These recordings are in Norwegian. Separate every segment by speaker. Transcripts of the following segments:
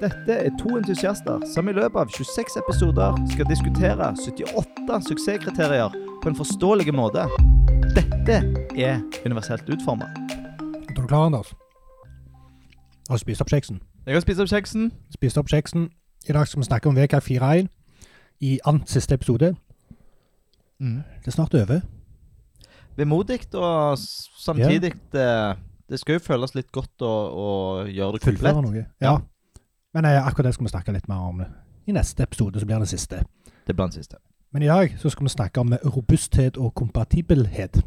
Speaker 1: Dette er to entusiaster som i løpet av 26 episoder skal diskutere 78 suksesskriterier på en forståelig måte. Dette er universelt utforma.
Speaker 2: Er du klar, Anders? altså? Har du spist opp kjeksen?
Speaker 1: Jeg har spist opp kjeksen.
Speaker 2: Spist opp kjeksen. I dag skal vi snakke om VK41 i annet siste episode.
Speaker 1: Mm.
Speaker 2: Det er snart over.
Speaker 1: Vemodig og s- samtidig eh, Det skal jo føles litt godt å, å gjøre det komplett.
Speaker 2: Fullføre noe. Ja. Men eh, akkurat det skal vi snakke litt mer om i neste episode, så blir det siste.
Speaker 1: Det blir den siste.
Speaker 2: Men i dag så skal vi snakke om robusthet og kompatibelhet.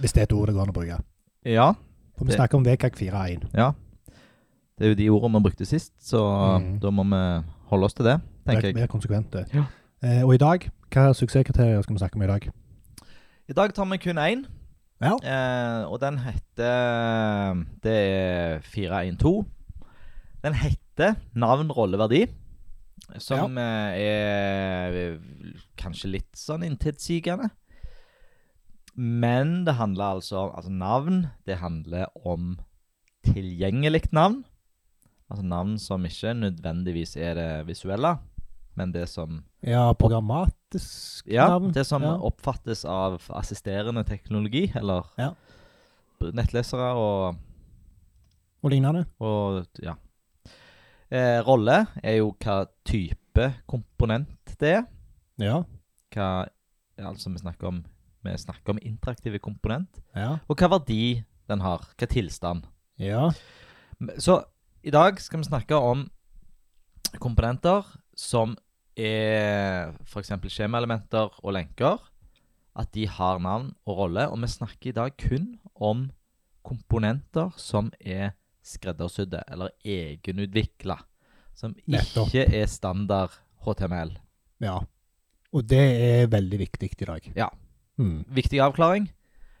Speaker 2: Hvis det er et ord det går an å bruke.
Speaker 1: Ja,
Speaker 2: For vi
Speaker 1: Det-
Speaker 2: snakker om VK41.
Speaker 1: ja. Det er jo de ordene vi brukte sist, så
Speaker 2: Mhm.
Speaker 1: da må vi holde oss til Mm. det, tenker jeg.
Speaker 2: Mer konsekvente.
Speaker 1: Ja.
Speaker 2: Eh, og i dag, hva suksesskriterier skal vi snakke om i dag?
Speaker 1: I dag tar vi kun én,
Speaker 2: Ja.
Speaker 1: eh, og den heter Det er 412. Den heter Navn, rolle, verdi, som eh, er kanskje litt sånn intetsigende. Men det handler altså om altså navn. Det handler om tilgjengelig navn. Altså navn som ikke nødvendigvis er det visuelle, men det som
Speaker 2: Ja, programmatisk
Speaker 1: ja,
Speaker 2: navn.
Speaker 1: det som
Speaker 2: Ja.
Speaker 1: oppfattes av assisterende teknologi, eller
Speaker 2: Ja.
Speaker 1: nettlesere og,
Speaker 2: Og lignende.
Speaker 1: og ja. Eh, rolle er jo hva type komponent det er.
Speaker 2: Ja.
Speaker 1: Hva, ja, altså vi snakker om, vi snakker om interaktive komponent,
Speaker 2: Ja.
Speaker 1: og hva verdi den har, hva tilstand.
Speaker 2: Ja.
Speaker 1: Så i dag skal vi snakke om komponenter som er f.eks. skjemaelementer og lenker. At de har navn og rolle. Og vi snakker i dag kun om komponenter som er skreddersydde eller egenutvikla. Som
Speaker 2: Nettopp.
Speaker 1: ikke er standard HTML.
Speaker 2: ja. Og det er veldig viktig i dag.
Speaker 1: Ja.
Speaker 2: Mm.
Speaker 1: Viktig avklaring.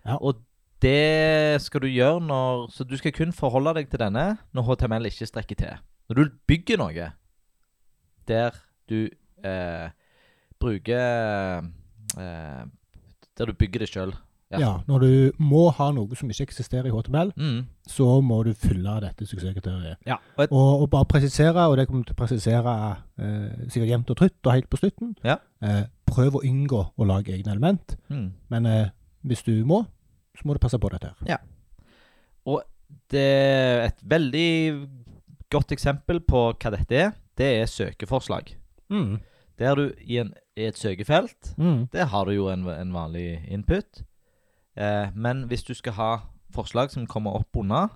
Speaker 2: Ja.
Speaker 1: Og det skal du gjøre når Så du skal kun forholde deg til denne når HTML ikke strekker til. Når du bygger noe der du eh, bruker eh, Der du bygger det sjøl. Ja.
Speaker 2: Ja. Når du må ha noe som ikke eksisterer i HTML,
Speaker 1: Mm.
Speaker 2: så må du fylle dette suksesskriteriet.
Speaker 1: Ja. Og et,
Speaker 2: Og, og bare presisere, og det kommer vi til å presisere eh, sikkert jevnt og trutt og helt på slutten
Speaker 1: Ja.
Speaker 2: eh, Prøv å unngå å lage egne element,
Speaker 1: mm.
Speaker 2: men eh, hvis du må, så må du passe på dette. her.
Speaker 1: Det er et veldig godt eksempel på hva dette er. Det er søkeforslag.
Speaker 2: Mm.
Speaker 1: Der du i, en, i et søkefelt
Speaker 2: Mm.
Speaker 1: Der har du jo en, en vanlig input. Eh, men hvis du skal ha forslag som kommer opp unna,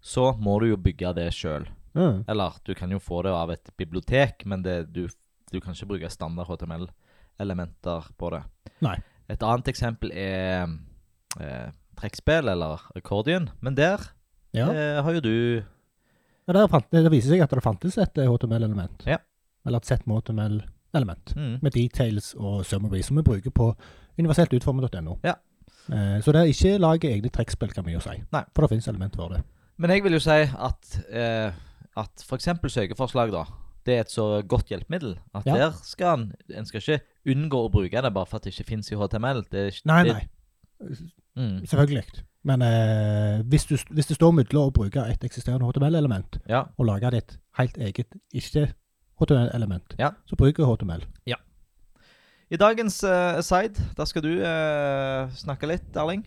Speaker 1: så må du jo bygge det sjøl.
Speaker 2: Mm.
Speaker 1: Eller du kan jo få det av et bibliotek, men det, du, du kan ikke bruke standard HTML-elementer på det.
Speaker 2: Nei.
Speaker 1: Et annet eksempel er eh, trekkspill eller accordion, men der
Speaker 2: Ja.
Speaker 1: eh, har jo du
Speaker 2: Ja, der fant, det viser seg at det fantes et eh, HTML-element.
Speaker 1: Ja.
Speaker 2: Eller et sett med HTML-element.
Speaker 1: mm,
Speaker 2: Med details og summary, som vi bruker på universeltutformet.no.
Speaker 1: Ja.
Speaker 2: Eh, så det er ikke lag egne trekkspill, kan vi jo si.
Speaker 1: Nei.
Speaker 2: For det finnes element for det.
Speaker 1: Men jeg vil jo si at, eh, at f.eks. søkeforslag, da. Det er et så godt hjelpemiddel at
Speaker 2: Ja.
Speaker 1: der skal en En skal ikke unngå å bruke det bare for at det ikke fins i HTML. Det er, ikke-
Speaker 2: Nei,
Speaker 1: det,
Speaker 2: nei.
Speaker 1: Mm,
Speaker 2: Selvfølgelig. Men eh, hvis, du, hvis det står mellom å bruke et eksisterende HTML-element
Speaker 1: ja.
Speaker 2: og lage ditt helt eget ikke-HTML-element,
Speaker 1: Ja.
Speaker 2: så bruker HTML.
Speaker 1: I dagens eh, side, der skal du eh, snakke litt, Erling.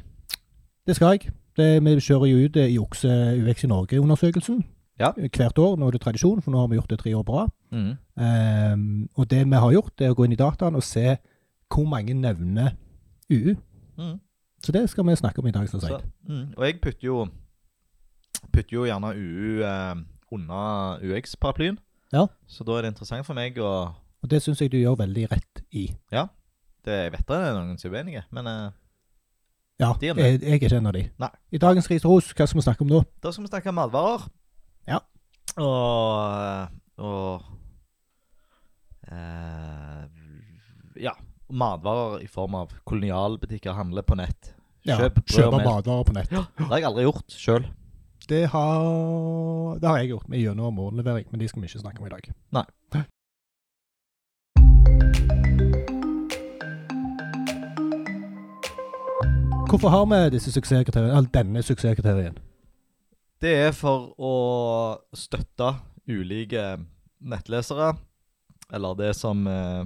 Speaker 2: Det skal jeg. Det, vi kjører jo ut eh, i Okse UX i Norge-undersøkelsen
Speaker 1: Ja.
Speaker 2: hvert år. Nå er det tradisjon, for nå har vi gjort det tre år på rad.
Speaker 1: Mm.
Speaker 2: Ehm, og det vi har gjort, det er å gå inn i dataen og se hvor mange nevner UU.
Speaker 1: Mm.
Speaker 2: Så det skal vi snakke om i dag. som
Speaker 1: Så,
Speaker 2: sagt.
Speaker 1: mm. Og jeg putter jo Putter jo gjerne UU eh, unna UX-paraplyen.
Speaker 2: Ja.
Speaker 1: Så da er det interessant for meg å
Speaker 2: Og det syns jeg du gjør veldig rett i.
Speaker 1: det, Jeg vet det er noen som er uenige, men eh,
Speaker 2: Ja,
Speaker 1: Det er
Speaker 2: jeg, jeg er ikke en av de.
Speaker 1: Nei.
Speaker 2: I dagens Ris og ros, hva skal vi snakke om nå?
Speaker 1: Da skal vi snakke om matvarer.
Speaker 2: Ja.
Speaker 1: Og, og eh, Ja. Matvarer i form av kolonialbutikker handler på nett.
Speaker 2: Ja,
Speaker 1: Kjøp brød og
Speaker 2: Kjøpe
Speaker 1: melk.
Speaker 2: matvarer på nett.
Speaker 1: Det har jeg aldri gjort sjøl.
Speaker 2: Det har, det har jeg gjort med gjennom morgenlevering, men de skal vi ikke snakke om i dag.
Speaker 1: Nei.
Speaker 2: Hvorfor har vi disse suksesskriteriene, eller denne suksesskriterien?
Speaker 1: Det er for å støtte ulike nettlesere, eller det som eh,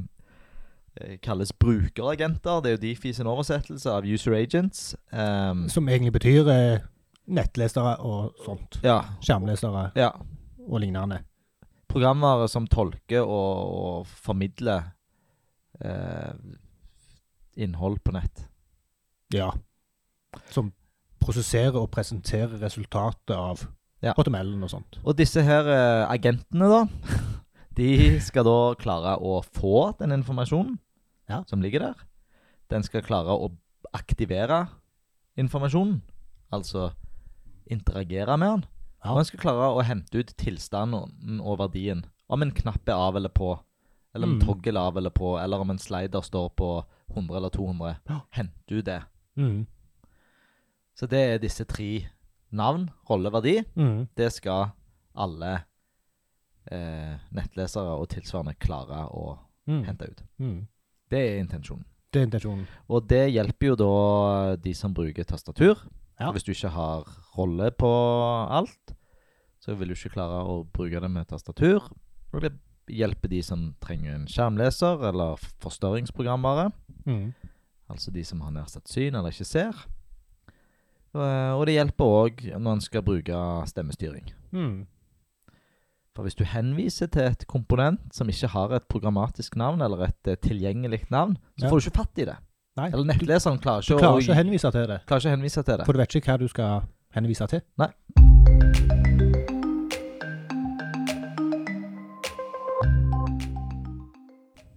Speaker 1: eh, kalles brukeragenter. Det er jo Difi sin oversettelse av user agents. Ehm,
Speaker 2: Som egentlig betyr eh, nettlesere og sånt.
Speaker 1: ja,
Speaker 2: Skjermlesere
Speaker 1: ja.
Speaker 2: og lignende.
Speaker 1: Programvare som tolker og, og formidler eh, innhold på nett.
Speaker 2: Ja. Som prosesserer og presenterer resultatet av
Speaker 1: Ja.
Speaker 2: HTML-en og sånt.
Speaker 1: Og disse her eh, agentene, da, de skal da klare å få den informasjonen
Speaker 2: Ja.
Speaker 1: som ligger der. Den skal klare å aktivere informasjonen, altså interagere med den.
Speaker 2: Ja.
Speaker 1: Og den skal klare å hente ut tilstanden og verdien. Om en knapp er av eller på, eller om
Speaker 2: Mm.
Speaker 1: en toggle er av eller på, eller om en slider står på 100 eller 200.
Speaker 2: Ja.
Speaker 1: Hente ut det.
Speaker 2: Mm.
Speaker 1: Så det er disse tre navn, rolle, verdi
Speaker 2: Mm.
Speaker 1: det skal alle eh, nettlesere og tilsvarende klare å
Speaker 2: Mm.
Speaker 1: hente ut.
Speaker 2: Mm.
Speaker 1: Det er intensjonen.
Speaker 2: Det er intensjonen.
Speaker 1: Og det hjelper jo da de som bruker tastatur.
Speaker 2: Ja.
Speaker 1: Hvis du ikke har rolle på alt, så vil du ikke klare å bruke det med tastatur. Og det hjelper de som trenger en skjermleser eller forstørringsprogramvare.
Speaker 2: Mm.
Speaker 1: Altså de som har nedsatt syn eller ikke ser. Eh, Og det hjelper òg når en skal bruke stemmestyring.
Speaker 2: Mm.
Speaker 1: For hvis du henviser til et komponent som ikke har et programmatisk navn, eller et eh, tilgjengelig navn, så
Speaker 2: Ja.
Speaker 1: får du ikke fatt i det.
Speaker 2: Nei,
Speaker 1: Eller nettleseren klarer
Speaker 2: Du
Speaker 1: ikke,
Speaker 2: klarer
Speaker 1: å,
Speaker 2: ikke å henvise til det,
Speaker 1: klarer ikke å henvise til det.
Speaker 2: for du vet ikke hva du skal henvise til.
Speaker 1: Nei.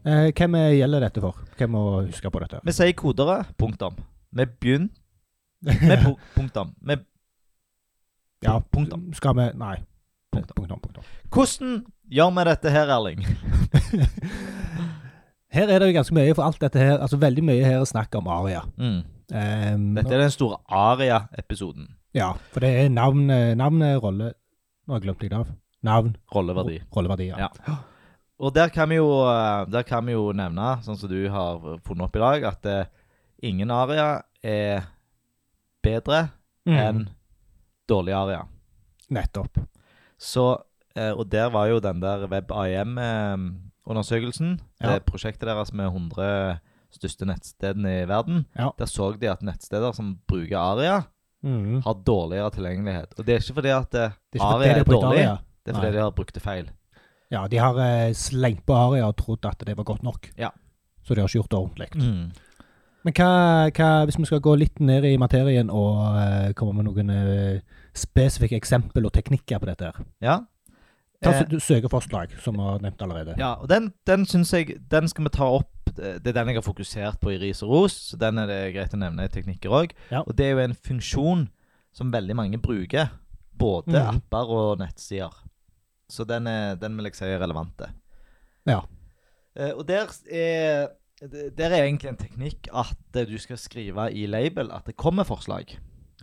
Speaker 2: Eh, hvem eh, gjelder dette for? Hvem må huske på dette?
Speaker 1: Vi sier kodere, punktum. Vi begynner med pu punktum. Vi,
Speaker 2: Ja,
Speaker 1: punktum.
Speaker 2: Skal vi Nei.
Speaker 1: Punktum.
Speaker 2: Punktum, punktum.
Speaker 1: hvordan gjør vi dette her, Erling?
Speaker 2: Her er det jo ganske mye, for alt dette her Altså veldig mye her er snakk om aria.
Speaker 1: Mm.
Speaker 2: Ehm,
Speaker 1: Dette er den store aria-episoden.
Speaker 2: Ja, for det er navn, eh, navn eh, rolle Nå har jeg glemt litt av. Navn,
Speaker 1: Rolleverdi.
Speaker 2: ro- rolleverdier.
Speaker 1: Ja. Og der kan, vi jo, eh, der kan vi jo nevne, sånn som du har funnet opp i dag, at eh, ingen aria er bedre enn
Speaker 2: Mm.
Speaker 1: dårlig aria.
Speaker 2: Nettopp.
Speaker 1: Så, eh, og der var jo den der WebIM-undersøkelsen,
Speaker 2: Ja.
Speaker 1: eh, det prosjektet deres med 100 største nettstedene i verden,
Speaker 2: Ja.
Speaker 1: der så de at nettsteder som bruker aria,
Speaker 2: Mm.
Speaker 1: har dårligere tilgjengelighet. Og det er ikke fordi at eh,
Speaker 2: Det er ikke fordi
Speaker 1: aria
Speaker 2: det
Speaker 1: er
Speaker 2: på
Speaker 1: dårlig,
Speaker 2: Italia.
Speaker 1: det er fordi
Speaker 2: Nei.
Speaker 1: de har brukt det feil.
Speaker 2: Ja, de har eh, slengt på aria og trodd at det var godt nok.
Speaker 1: Ja. Mm.
Speaker 2: Så de har ikke gjort det ordentlig. Men hva, hva, hvis vi skal gå litt ned i materien og eh, komme med noen eh, spesifikke eksempel og teknikker på dette her.
Speaker 1: Ja.
Speaker 2: Ta
Speaker 1: Eh,
Speaker 2: s- du søker forslag, som vi har nevnt allerede.
Speaker 1: ja, og den, den synes jeg, den skal vi ta opp, det er den jeg har fokusert på i ris og ros, så den er det greit å nevne i teknikker også.
Speaker 2: Ja.
Speaker 1: Og det er jo en funksjon som veldig mange bruker, både
Speaker 2: Mhm.
Speaker 1: apper og nettsider. Så den, er, den vil jeg si er relevante.
Speaker 2: Ja.
Speaker 1: Eh, og der er, der er egentlig en teknikk at eh, du skal skrive i label at det kommer forslag,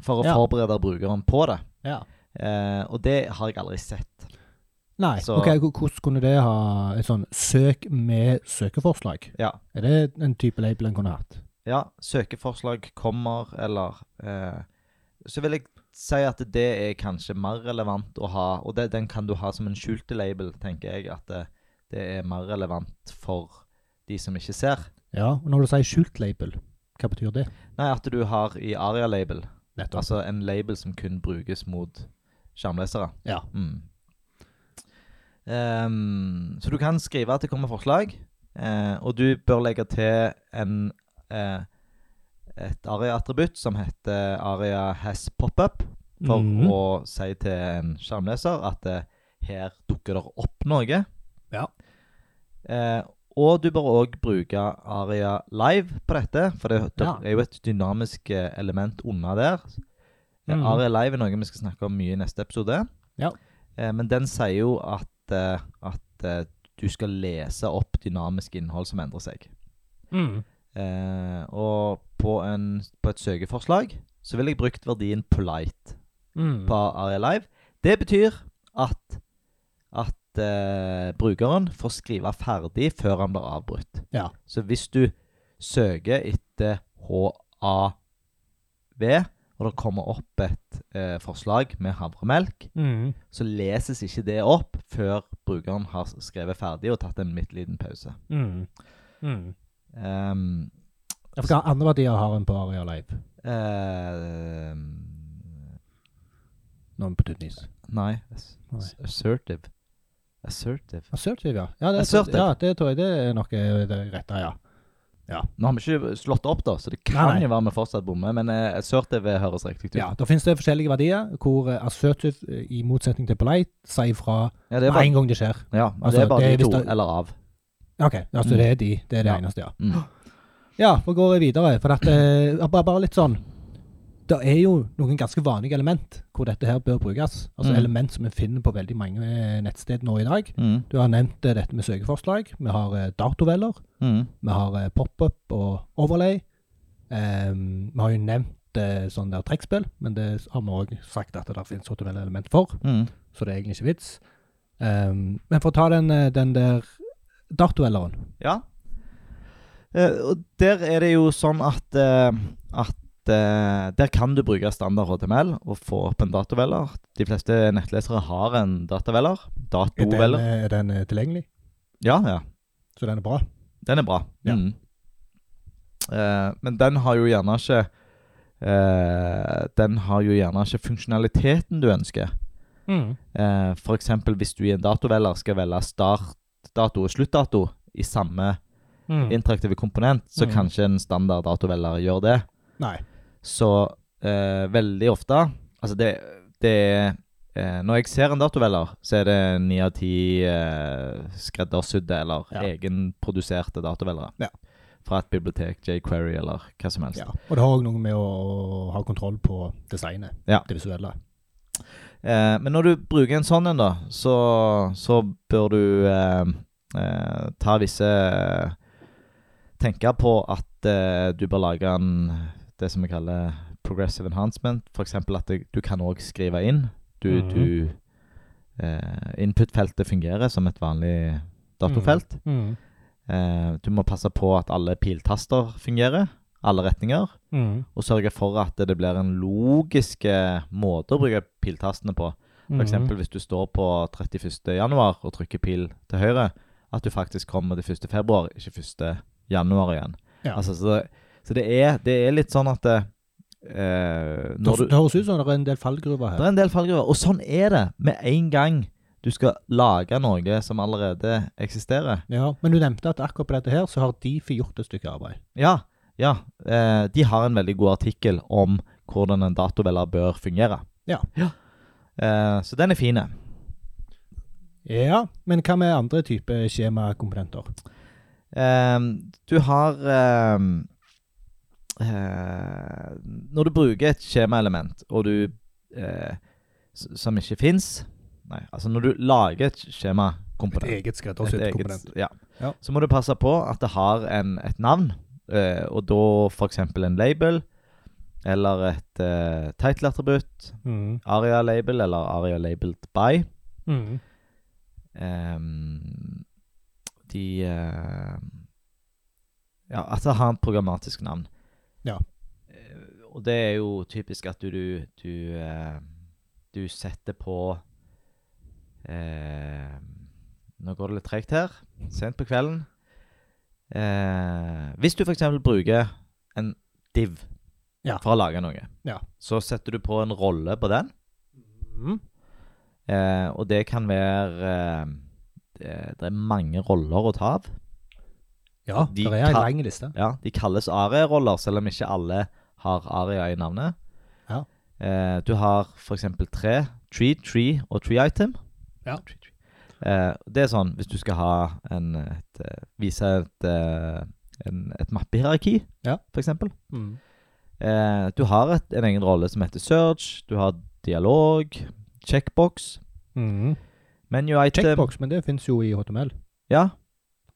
Speaker 1: for å
Speaker 2: Ja.
Speaker 1: forberede brukeren på det.
Speaker 2: Ja.
Speaker 1: Eh, og det har jeg aldri sett.
Speaker 2: Nei,
Speaker 1: Så-
Speaker 2: ok, h- hvordan kunne det ha et sånn søk med søkeforslag?
Speaker 1: Ja.
Speaker 2: Er det en type label en kunne hatt?
Speaker 1: Ja, søkeforslag kommer, eller eh, Så vil jeg si at det er kanskje mer relevant å ha, og det, den kan du ha som en skjulte label, tenker jeg, at det, det er mer relevant for de som ikke ser.
Speaker 2: Ja, og når du sier skjult label, hva betyr det?
Speaker 1: Nei, at du har i ARIA-label,
Speaker 2: Nettopp.
Speaker 1: altså en label som kun brukes mot skjermlesere.
Speaker 2: Ja.
Speaker 1: Mm. Ehm, så du kan skrive at det kommer forslag, eh, og du bør legge til en, eh, et aria-attributt som heter aria has pop-up, for
Speaker 2: Mhm.
Speaker 1: å si til en skjermleser at eh, her dukker det opp noe.
Speaker 2: Ja.
Speaker 1: Eh, og du bør òg bruke aria live på dette, for det, det
Speaker 2: Ja.
Speaker 1: er jo et dynamisk eh, element unna der. Eh,
Speaker 2: Mhm.
Speaker 1: Aria live er noe vi skal snakke om mye i neste episode. Eh, Men den sier jo at, eh, at eh, du skal lese opp dynamisk innhold som endrer seg.
Speaker 2: Mm.
Speaker 1: Eh, og på, en, på et søkeforslag så ville jeg brukt verdien polite
Speaker 2: Mm.
Speaker 1: på Aria Live. Det betyr at, at eh, brukeren får skrive ferdig før han blir avbrutt.
Speaker 2: Ja.
Speaker 1: Så hvis du søker etter HAV, og når det kommer opp et eh, forslag med havremelk,
Speaker 2: Mm.
Speaker 1: så leses ikke det opp før brukeren har skrevet ferdig og tatt en midtliten pause.
Speaker 2: Mm. Mm.
Speaker 1: Ehm,
Speaker 2: Ja, for Hva andre verdier har en på Aria Live?
Speaker 1: ehm,
Speaker 2: Noen på Tunis?
Speaker 1: nei, ass-
Speaker 2: Nei.
Speaker 1: Assertive. Assertive.
Speaker 2: Assertive, ja. Ja, det,
Speaker 1: Assertive.
Speaker 2: ja, det tror jeg det er noe eh, det rette, ja.
Speaker 1: Nå har vi ikke slått det opp, da, så det kan
Speaker 2: Nei, nei.
Speaker 1: jo være vi fortsatt bommer, men eh, assertive høres riktig ut.
Speaker 2: Ja, Da finnes det forskjellige verdier, hvor eh, assertive, eh, i motsetning til polite, sier fra
Speaker 1: Ja, det
Speaker 2: med
Speaker 1: er bare,
Speaker 2: en gang det skjer.
Speaker 1: ja,
Speaker 2: altså,
Speaker 1: det er bare
Speaker 2: det er
Speaker 1: de
Speaker 2: hvis
Speaker 1: to,
Speaker 2: det-
Speaker 1: eller av.
Speaker 2: OK, altså
Speaker 1: Mm.
Speaker 2: det er de. Det er det
Speaker 1: Ja.
Speaker 2: eneste, ja.
Speaker 1: Mm.
Speaker 2: Ja, for går jeg videre, for dette ja, bare, bare litt sånn Det er jo noen ganske vanlige element hvor dette her bør brukes. Altså
Speaker 1: Mm.
Speaker 2: element som vi finner på veldig mange eh, nettsted nå i dag.
Speaker 1: Mm.
Speaker 2: Du har nevnt eh, dette med søkeforslag. Vi har eh, datoveller.
Speaker 1: Mm.
Speaker 2: Vi har eh, pop-up og overlay. Ehm, vi har jo nevnt eh, sånn der trekkspill, men det har vi òg sagt at det finnes HTML element for,
Speaker 1: Mm.
Speaker 2: så det er egentlig ikke vits. Ehm, men for å ta den, eh, den der dartduelleren
Speaker 1: Ja. Eh, og der er det jo sånn at, eh, at eh, Der kan du bruke standard HTML og få opp en datoveller. De fleste nettlesere har en dataveller.
Speaker 2: er den,
Speaker 1: Datoveller.
Speaker 2: eh, er den eh, tilgjengelig?
Speaker 1: Ja, ja.
Speaker 2: Så den er bra?
Speaker 1: Den er bra.
Speaker 2: Ja.
Speaker 1: Mm. Eh, men den har jo gjerne ikke eh, Den har jo gjerne ikke funksjonaliteten du ønsker.
Speaker 2: Mm.
Speaker 1: Eh, for eksempel hvis du i en datovelger skal velge startdato og sluttdato i samme interaktive komponent, så
Speaker 2: Mm.
Speaker 1: kanskje en standard datovelger gjør det.
Speaker 2: Nei.
Speaker 1: Så eh, veldig ofte Altså, det, det er eh, Når jeg ser en datovelger, så er det ni av ti eh, skreddersydde eller
Speaker 2: Ja.
Speaker 1: egenproduserte datovellere.
Speaker 2: Ja.
Speaker 1: Fra et bibliotek, jQuery eller hva som helst.
Speaker 2: Ja. Og det har òg noe med å ha kontroll på designet,
Speaker 1: Ja.
Speaker 2: det visuelle.
Speaker 1: Eh, men når du bruker en sånn en, da, så, så bør du eh, eh, ta visse Tenke på at eh, du bør lage en det som vi kaller progressive enhancement. F.eks. at det, du kan òg skrive inn. Du,
Speaker 2: Mhm.
Speaker 1: du eh, Input-feltet fungerer som et vanlig datofelt.
Speaker 2: Mm.
Speaker 1: Eh, du må passe på at alle piltaster fungerer. Alle retninger.
Speaker 2: Mm.
Speaker 1: Og sørge for at det blir en logisk eh, måte å bruke piltastene på.
Speaker 2: Mhm.
Speaker 1: For eksempel hvis du står på 31. januar og trykker pil til høyre, at du faktisk kommer til 1. februar, ikke 1. januar igjen.
Speaker 2: Ja.
Speaker 1: Altså, så så det, er, det er litt sånn at eh, eh,
Speaker 2: det,
Speaker 1: når du,
Speaker 2: det høres ut som det er en del fallgruver
Speaker 1: Det
Speaker 2: her.
Speaker 1: er en del fallgruver, og sånn er det med en gang du skal lage noe som allerede eksisterer.
Speaker 2: Ja, men du nevnte at akkurat på dette her så har Difi gjort et stykke arbeid.
Speaker 1: Ja, ja. Eh, de har en veldig god artikkel om hvordan en datovelger bør fungere.
Speaker 2: Ja.
Speaker 1: Eh, så den er fin.
Speaker 2: Ja, men hva med andre typer skjemakomponenter?
Speaker 1: Ehm, du har ehm, eh, Når du bruker et skjemaelement, og du eh, s- Som ikke fins Nei, altså når du lager et skjemakomponent
Speaker 2: eget
Speaker 1: et eget- ja,
Speaker 2: Ja.
Speaker 1: Så må du passe på at det har en, et navn, eh, og da f.eks. en label. Eller et uh, title-attributt.
Speaker 2: Mm.
Speaker 1: Aria-label eller aria-labeled by.
Speaker 2: Mm.
Speaker 1: Ehm, de eh, Ja, at det har en programmatisk navn.
Speaker 2: Ja.
Speaker 1: Eh, og det er jo typisk at du Du, du, eh, du setter på eh, Nå går det litt tregt her, sent på kvelden. Eh, hvis du f.eks. bruker en div
Speaker 2: Ja.
Speaker 1: for å lage noe,
Speaker 2: Ja.
Speaker 1: så setter du på en rolle på den.
Speaker 2: Mm.
Speaker 1: Eh, og det kan være eh, det, det er mange roller å ta av.
Speaker 2: Ja,
Speaker 1: De
Speaker 2: det er en
Speaker 1: kan-
Speaker 2: lang liste.
Speaker 1: Ja, De kalles aria-roller, selv om ikke alle har aria i navnet.
Speaker 2: Ja.
Speaker 1: Eh, du har f.eks. tre. Tree, tree og tree item.
Speaker 2: Ja.
Speaker 1: Tree, tree. Eh, det er sånn hvis du skal ha en, et, eh, vise et, eh, en, et mappehierarki,
Speaker 2: Ja.
Speaker 1: f.eks.
Speaker 2: Mm.
Speaker 1: Eh, du har et, en egen rolle som heter search. Du har dialog, checkbox,
Speaker 2: Mm.
Speaker 1: menu item
Speaker 2: Checkbox, men det fins jo i HTML.
Speaker 1: Ja,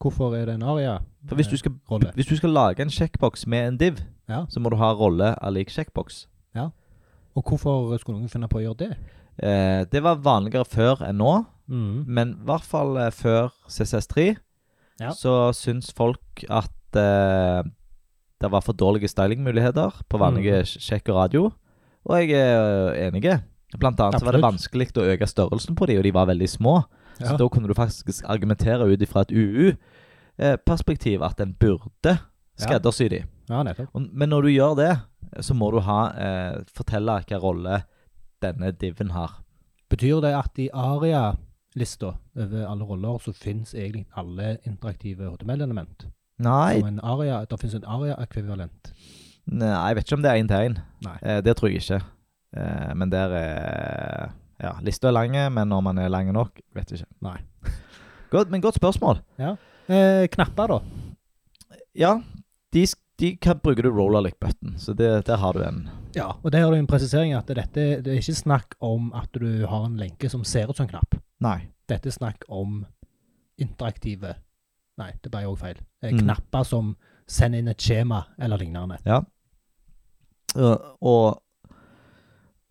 Speaker 2: Hvorfor er det en aria?
Speaker 1: for hvis du skal
Speaker 2: Rolle.
Speaker 1: Hvis du skal lage en checkbox med en div,
Speaker 2: Ja.
Speaker 1: så må du ha rolle er lik checkbox.
Speaker 2: Og hvorfor skulle noen finne på å gjøre det?
Speaker 1: Eh, det var vanligere før enn nå,
Speaker 2: Mm.
Speaker 1: men i hvert fall eh, før CCS3
Speaker 2: Ja.
Speaker 1: så syns folk at eh, det var for dårlige stylingmuligheter på vanlige
Speaker 2: Mhm.
Speaker 1: sjekk og radio. Og jeg er eh, enig. Blant annet så var det vanskelig å øke størrelsen på de, og de var veldig små. Så
Speaker 2: Ja.
Speaker 1: da kunne du faktisk argumentere ut ifra et UU-perspektiv at en burde skreddersy de.
Speaker 2: ja, nettopp.
Speaker 1: Og- Men når du gjør det, så må du ha, eh, fortelle hvilken rolle denne diven har.
Speaker 2: Betyr det at i aria-lista over alle roller, så fins egentlig alle interaktive HTML-element?
Speaker 1: Nei,
Speaker 2: Som en aria, Det fins en aria-ekvivalent.
Speaker 1: nei, jeg vet ikke om det er én til én.
Speaker 2: Nei.
Speaker 1: Eh, det tror jeg ikke. Eh, men der er Ja, lista er lang, men når man er lang nok, vet jeg ikke.
Speaker 2: Nei.
Speaker 1: Godt, men godt spørsmål.
Speaker 2: Eh, knapper, da.
Speaker 1: Ja, de, sk- de kan bruker du rollerlick-button, så det, der har du en.
Speaker 2: Ja, og der har du en presisering at dette det er ikke snakk om at du har en lenke som ser ut som en knapp.
Speaker 1: Nei.
Speaker 2: Dette er snakk om interaktive Nei, det ble òg feil. Eh,
Speaker 1: Mm.
Speaker 2: Knapper som sender inn et skjema eller lignende.
Speaker 1: Eh, og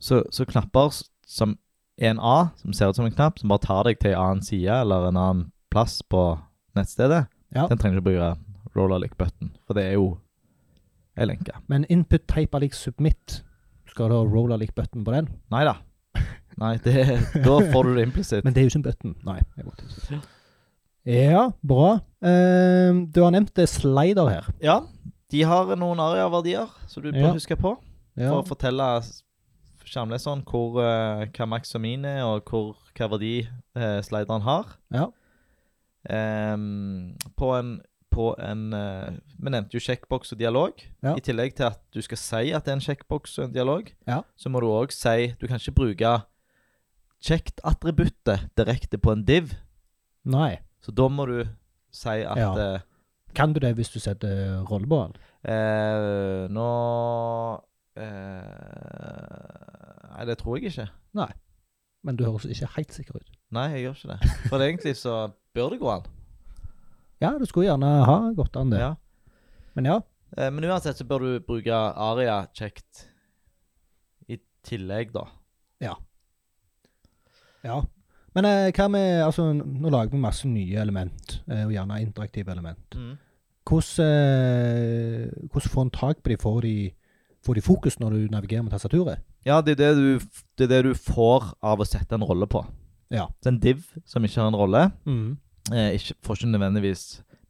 Speaker 1: så, så knapper s- som er en A, som ser ut som en knapp, som bare tar deg til en annen side eller en annen plass på nettstedet,
Speaker 2: Ja.
Speaker 1: den trenger du ikke bruke rollerlick-button, for det er jo ei lenke.
Speaker 2: Men input type lik submit, skal du ha roller lik button på den?
Speaker 1: Nei da. Nei, det, da får du det implisitt.
Speaker 2: Men det er jo ikke en button. Nei. Jeg måtte ikke si. ja, bra. Eh, du har nevnt det slider her.
Speaker 1: Ja, de har noen aria-verdier som du bør
Speaker 2: Ja.
Speaker 1: huske på. For å fortelle s- skjermleseren hvor, eh, hva max og min er, og hvor, hva verdi eh, slideren har.
Speaker 2: Ja.
Speaker 1: Ehm, på en, på en eh, Vi nevnte jo sjekkboks og dialog.
Speaker 2: Ja.
Speaker 1: I tillegg til at du skal si at det er en sjekkboks og en dialog,
Speaker 2: Ja.
Speaker 1: så må du òg si Du kan ikke bruke checked-attributtet direkte på en div,
Speaker 2: Nei.
Speaker 1: så da må du si at
Speaker 2: Ja.
Speaker 1: eh,
Speaker 2: Kan du det hvis du setter rolle på den?
Speaker 1: Eh, nå eh, Nei, det tror jeg ikke.
Speaker 2: Men du høres ikke helt sikker ut.
Speaker 1: Nei, jeg gjør ikke det. For egentlig så bør det gå an.
Speaker 2: Ja, du skulle gjerne ha gått an det.
Speaker 1: Ja.
Speaker 2: Men ja.
Speaker 1: Eh, men uansett så bør du bruke aria kjekt i tillegg, da.
Speaker 2: Ja. Men eh, hva med Altså, nå lager vi masse nye element, eh, og gjerne interaktive element. Hvordan, eh, hvordan får en tak på de? Får de Får de fokus når du navigerer med tastaturet?
Speaker 1: Ja, det er det, du, f- det er det du får av å sette en rolle på.
Speaker 2: Ja.
Speaker 1: Så en div som ikke har en rolle,
Speaker 2: Mm.
Speaker 1: eh, ikke, får ikke nødvendigvis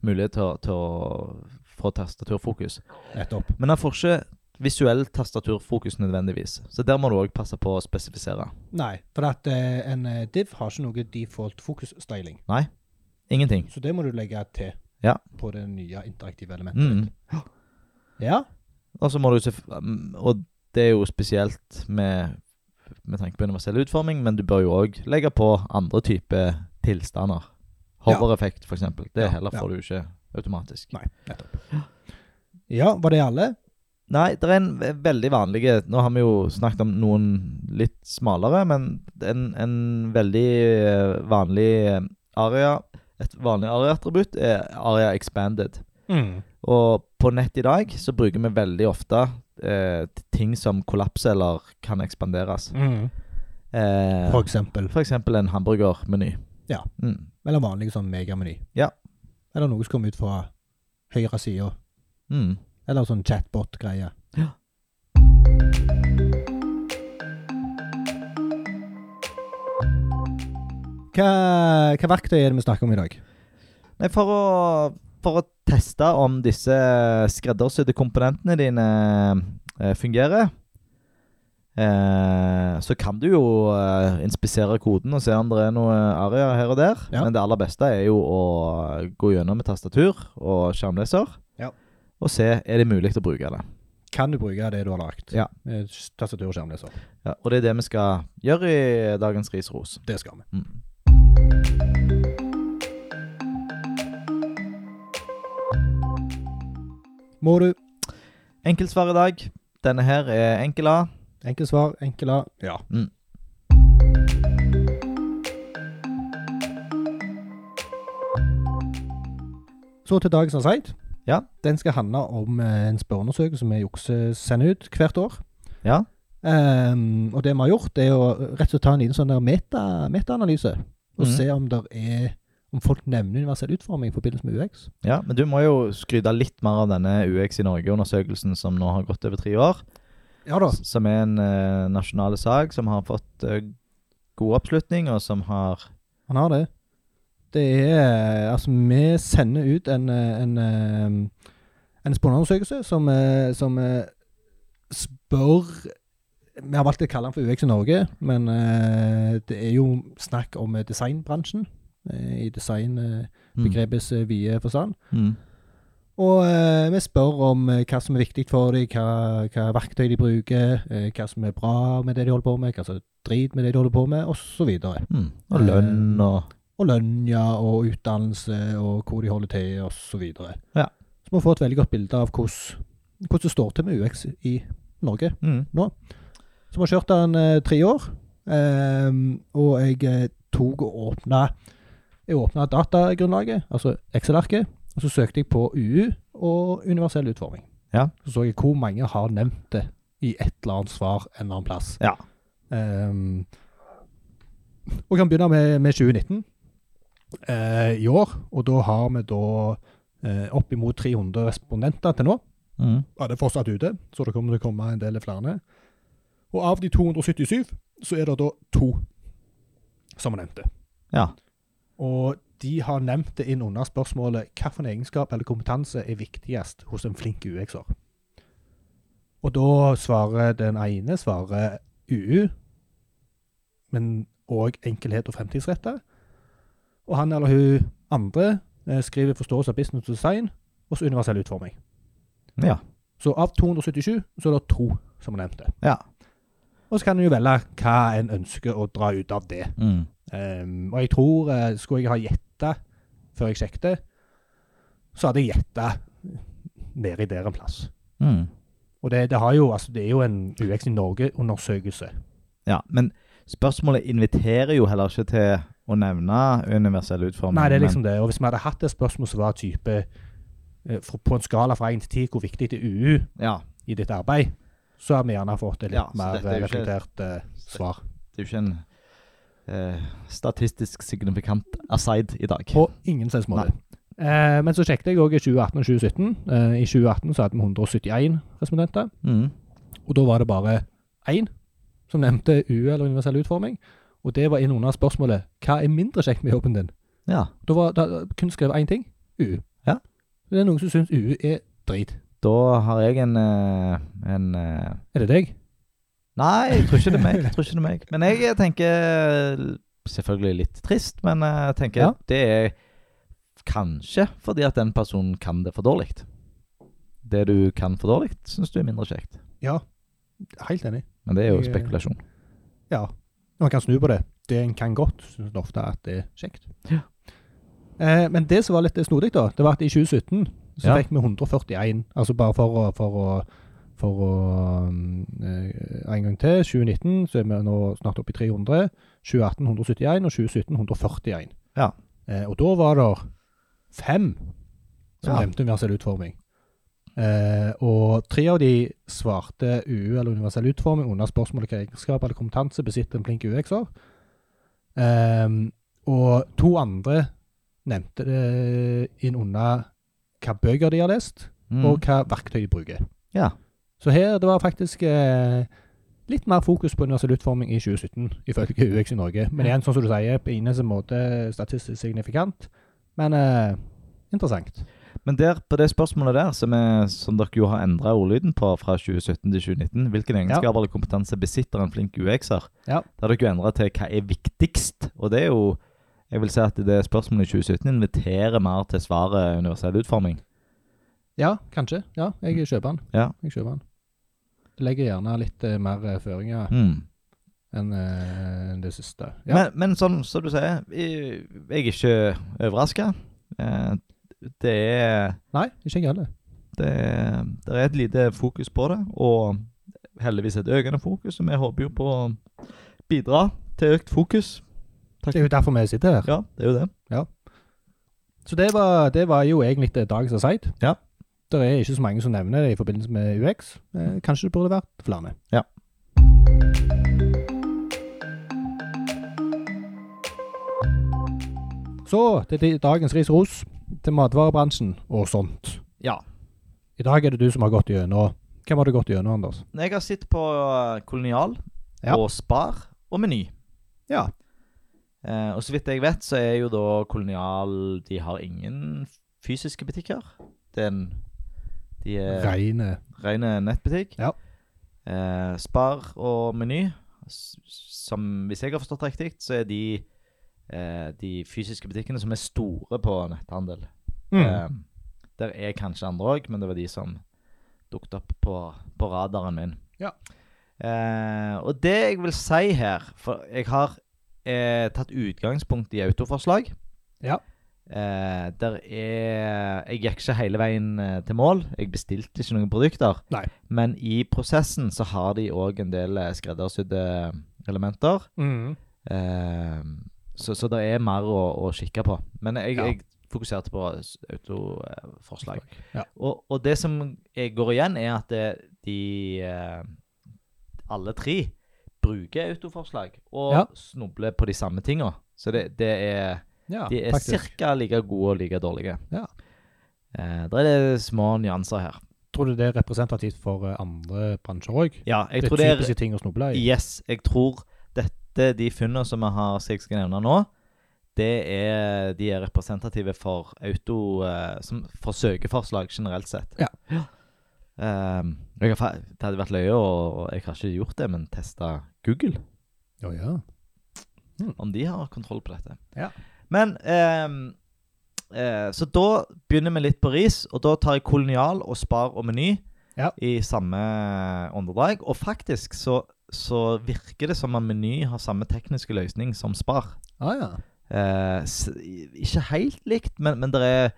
Speaker 1: mulighet til, å- til å få tastaturfokus.
Speaker 2: Nettopp.
Speaker 1: Men han får ikke visuell tastaturfokus nødvendigvis. Så der må du òg passe på å spesifisere.
Speaker 2: Nei, for at eh, en eh, div har ikke noe default fokus-styling.
Speaker 1: Ingenting.
Speaker 2: Så det må du legge til
Speaker 1: Ja.
Speaker 2: på det nye interaktive elementet.
Speaker 1: Mm.
Speaker 2: Ja.
Speaker 1: Og så må du sef- mm, Og det er jo spesielt med, med tanke på universell utforming, men du bør jo òg legge på andre typer tilstander. Hovereffekt, f.eks. Det
Speaker 2: Ja,
Speaker 1: heller
Speaker 2: ja.
Speaker 1: får du ikke automatisk.
Speaker 2: Nei, nettopp. Ja, var det alle?
Speaker 1: Nei, det er en ve- veldig vanlig Nå har vi jo snakket om noen litt smalere, men en, en veldig eh, vanlig eh, aria Et vanlig aria-attributt er aria expanded. Og på nett i dag så bruker vi veldig ofte eh, t- ting som kollapser eller kan ekspanderes. Eh,
Speaker 2: For eksempel.
Speaker 1: for eksempel en hamburgermeny.
Speaker 2: Ja.
Speaker 1: Mm.
Speaker 2: Eller vanlig sånn megameny.
Speaker 1: Ja.
Speaker 2: Eller noe som kommer ut fra høyre side.
Speaker 1: Mm.
Speaker 2: Eller sånn chatbot-greie.
Speaker 1: Ja.
Speaker 2: Hva, hva verktøy er det vi snakker om i dag?
Speaker 1: Nei, for å, for å teste om disse skreddersydde komponentene dine eh, fungerer, eh, så kan du jo eh, inspisere koden og se om det er noe aria her og der.
Speaker 2: Ja.
Speaker 1: Men det aller beste er jo å gå gjennom med tastatur og skjermleser
Speaker 2: Ja.
Speaker 1: og se er det mulig å bruke det.
Speaker 2: Kan du bruke det du har Eh, lagd?
Speaker 1: Ja.
Speaker 2: Med Tastatur og skjermleser.
Speaker 1: Ja, og det er det vi skal gjøre i dagens risros.
Speaker 2: Det skal vi.
Speaker 1: Mm.
Speaker 2: Må du?
Speaker 1: Enkeltsvar i dag. Denne her er enkel A.
Speaker 2: Enkelt svar, enkel A. Ja.
Speaker 1: Mm.
Speaker 2: Så til dagens aside.
Speaker 1: Ja.
Speaker 2: Den skal handle om eh, en spørreundersøkelse vi jukse sender ut hvert år.
Speaker 1: Ja.
Speaker 2: Ehm, og det vi har gjort, er å rett og slett ta en liten sånn der meta, metaanalyse. Og
Speaker 1: Mhm.
Speaker 2: se om der er om folk nevner universell utforming i forbindelse med UX.
Speaker 1: Ja, men du må jo skryte litt mer av denne UX i Norge-undersøkelsen som nå har gått over tre år.
Speaker 2: Ja da.
Speaker 1: som er en eh, nasjonale sak som har fått eh, god oppslutning, og som har
Speaker 2: Han har det. Det er Altså, vi sender ut en, eh, en, eh, en spørreundersøkelse som, eh, som eh, spør Vi har valgt å kalle den for UX i Norge, men eh, det er jo snakk om eh, designbransjen. eh, I designbegrepets
Speaker 1: mm,
Speaker 2: eh, vide forstand.
Speaker 1: Mm.
Speaker 2: Og eh, vi spør om eh, hva som er viktig for dem, hva, hva verktøy de bruker, eh, hva som er bra med det de holder på med, hva som er drit med det de holder på med, osv.
Speaker 1: Mm. Og lønn og
Speaker 2: Og lønn, ja, og utdannelse, og hvor de holder til, osv.
Speaker 1: Ja.
Speaker 2: Så vi får et veldig godt bilde av hvordan, hvordan det står til med UX i Norge.
Speaker 1: mm.
Speaker 2: Så vi har kjørt den eh, tre år, ehm, og jeg eh, tok og åpna Jeg åpna datagrunnlaget, altså Excel-arket, og så søkte jeg på UU og universell utforming.
Speaker 1: Ja.
Speaker 2: Så så jeg hvor mange har nevnt det i et eller annet svar en eller annen plass.
Speaker 1: Ja.
Speaker 2: Ehm, og kan begynne med, med 2019 eh, i år, og da har vi da eh, oppimot 300 respondenter til nå.
Speaker 1: Mm.
Speaker 2: Ja, det er fortsatt ute, så det kommer til å komme en del flere. Og av de 277, så er det da to som har nevnt det.
Speaker 1: ja.
Speaker 2: Og de har nevnt det inn under spørsmålet hvilken egenskap eller kompetanse er viktigst hos en flink UX-er. Og da svarer den ene svarer UU, men òg enkelhet og fremtidsrettet. Og han eller hun andre eh, skriver forståelse av business design og så universell utforming.
Speaker 1: Mm. Ja.
Speaker 2: Så av 277, så er det to som er nevnt det.
Speaker 1: Ja.
Speaker 2: Og så kan en jo velge hva en ønsker å dra ut av det.
Speaker 1: Mm.
Speaker 2: Ehm, og jeg tror, eh, skulle jeg ha gjetta før jeg sjekket, det, så hadde jeg gjetta nedi der en plass.
Speaker 1: Mm.
Speaker 2: Og det, det, har jo, altså, det er jo en UX i Norge-undersøkelse.
Speaker 1: ja. Men spørsmålet inviterer jo heller ikke til å nevne universell utforming.
Speaker 2: Nei, det er liksom det. Og hvis vi hadde hatt et spørsmål som var type eh, fra- på en skala fra 1 til 10, hvor viktig det er UU
Speaker 1: men, ja.
Speaker 2: i ditt arbeid, så har vi gjerne fått et litt
Speaker 1: Ja, så
Speaker 2: mer
Speaker 1: dette er
Speaker 2: eh,
Speaker 1: jo ikke-
Speaker 2: reflektert eh, svar.
Speaker 1: Det er jo ikke en eh, statistisk signifikant aside i dag.
Speaker 2: På ingen selvs måte. Eh, men så sjekket jeg òg i 2018 og 2017. Eh, I 2018 så hadde vi 171 respondenter.
Speaker 1: Mm.
Speaker 2: Og da var det bare én som nevnte U eller universell utforming. Og det var inn under spørsmålet hva er mindre kjekt med jobben din?
Speaker 1: Ja.
Speaker 2: Da var da kun skrevet én ting U. E
Speaker 1: Ja.
Speaker 2: Det er noen som syns U E er drit.
Speaker 1: Da har jeg en, eh, en eh,
Speaker 2: Er det deg?
Speaker 1: Nei, jeg tror ikke det er meg. Jeg tror ikke det er meg. Men jeg eh, tenker eh, Selvfølgelig litt trist, men eh, jeg tenker
Speaker 2: Ja.
Speaker 1: det er kanskje fordi at den personen kan det for dårlig. Det du kan for dårlig, syns du er mindre kjekt.
Speaker 2: Ja. Helt enig.
Speaker 1: Men det er jo
Speaker 2: Jeg- eh,
Speaker 1: spekulasjon.
Speaker 2: Ja. Man kan snu på det. Det en kan godt, syns en ofte at det er kjekt.
Speaker 1: Ja.
Speaker 2: Eh, men det som var litt snodig, da, det var at i 2017 så
Speaker 1: Ja.
Speaker 2: fikk vi 141, altså bare for å, for å for å mm, eh, En gang til. 2019 så er vi nå snart oppe i 300. 2018 171, og 2017 141.
Speaker 1: Ja.
Speaker 2: Eh, og da var det fem som
Speaker 1: Ja.
Speaker 2: nevnte universell utforming. Eh, og tre av de svarte UU eller universell utforming under spørsmålet hva egenskap eller kompetanse besitter en flink UX-er. Ehm, og to andre nevnte det inn under hva bøker de har lest,
Speaker 1: Mm.
Speaker 2: og hva verktøy de bruker.
Speaker 1: Ja.
Speaker 2: Så her det var faktisk eh, litt mer fokus på universell utforming i 2017, ifølge UX i Norge. Men igjen, sånn som du sier, på ingen som måte statistisk signifikant, men eh, interessant.
Speaker 1: Men der, på det spørsmålet der, som, er, som dere jo har endra ordlyden på fra 2017 til 2019 Hvilken egenskap eller kompetanse besitter en flink UX-er?
Speaker 2: Ja.
Speaker 1: Der har dere jo endra til hva er viktigst. Og det er jo Jeg vil si at det spørsmålet i 2017 inviterer mer til svaret universell utforming.
Speaker 2: Ja, kanskje. Ja, jeg kjøper den.
Speaker 1: Mm. Ja.
Speaker 2: Jeg kjøper den. Det legger gjerne litt eh, mer eh, føringer
Speaker 1: Mm.
Speaker 2: enn eh, det siste. Ja.
Speaker 1: Men, men sånn som du sier, jeg jeg er ikke overraska. Det er
Speaker 2: Nei, ikke jeg heller.
Speaker 1: det, det er et lite fokus på det, og heldigvis et økende fokus. Og vi håper jo på å bidra til økt fokus.
Speaker 2: Det er jo derfor vi sitter her.
Speaker 1: Ja, det er jo det.
Speaker 2: Så det var, det var jo egentlig det dagens aside.
Speaker 1: Ja.
Speaker 2: Det er ikke så mange som nevner det i forbindelse med UX. Eh, kanskje det burde vært flere.
Speaker 1: Ja.
Speaker 2: Så til de- dagens ris og ros til matvarebransjen og sånt.
Speaker 1: Ja.
Speaker 2: I dag er det du som har gått gjennom Hvem har du gått gjennom, Anders?
Speaker 1: Jeg har sett på eh, Kolonial
Speaker 2: Ja.
Speaker 1: og Spar og Meny.
Speaker 2: Ja.
Speaker 1: Eh, og så vidt jeg vet, så er jo da Kolonial De har ingen fysiske butikker. Det er en De er
Speaker 2: Reine
Speaker 1: rene nettbutikk.
Speaker 2: Ja.
Speaker 1: Eh, Spar og Meny, s- som hvis jeg har forstått riktig, så er de eh, de fysiske butikkene som er store på netthandel.
Speaker 2: mm.
Speaker 1: Eh, der er kanskje andre òg, men det var de som dukket opp på, på radaren min.
Speaker 2: Ja.
Speaker 1: Eh, og det jeg vil si her For jeg har eh, tatt utgangspunkt i autoforslag.
Speaker 2: Ja.
Speaker 1: Eh, der er Jeg gikk ikke hele veien eh, til mål. Jeg bestilte ikke noen produkter.
Speaker 2: Nei.
Speaker 1: Men i prosessen så har de òg en del eh, skreddersydde eh, elementer.
Speaker 2: Mm.
Speaker 1: Eh, så, så det er mer å, å kikke på. Men jeg,
Speaker 2: Ja.
Speaker 1: jeg fokuserte på s- autoforslag.
Speaker 2: Ja.
Speaker 1: Og, og det som jeg går igjen, er at det, de eh, Alle tre bruker autoforslag og
Speaker 2: Ja.
Speaker 1: snubler på de samme tinga. Så det, det er,
Speaker 2: ja
Speaker 1: de er
Speaker 2: faktisk.
Speaker 1: ca. like gode og like dårlige.
Speaker 2: Ja.
Speaker 1: Eh, det er det små nyanser her.
Speaker 2: Tror du det er representativt for eh, andre bransjer òg?
Speaker 1: Ja, jeg
Speaker 2: Det
Speaker 1: tror
Speaker 2: er
Speaker 1: det er
Speaker 2: typiske ting å snuble i.
Speaker 1: Yes, jeg tror dette, de funnene som vi har, som jeg skal nevne nå, det er, de er representative for auto, eh, som, for søkeforslag generelt sett.
Speaker 2: Ja.
Speaker 1: Ehm, jeg har, fa- det hadde vært løye, og, og jeg har ikke gjort det, men testa Google,
Speaker 2: Å ja.
Speaker 1: om de har kontroll på dette.
Speaker 2: Ja.
Speaker 1: Men, ehm, eh, så da begynner vi litt på ris, og da tar jeg kolonial og spar og meny
Speaker 2: Ja.
Speaker 1: i samme åndedrag. Og faktisk så, så virker det som om meny har samme tekniske løsning som spar.
Speaker 2: Ah, ja.
Speaker 1: Eh, s ikke helt likt, men, men det er,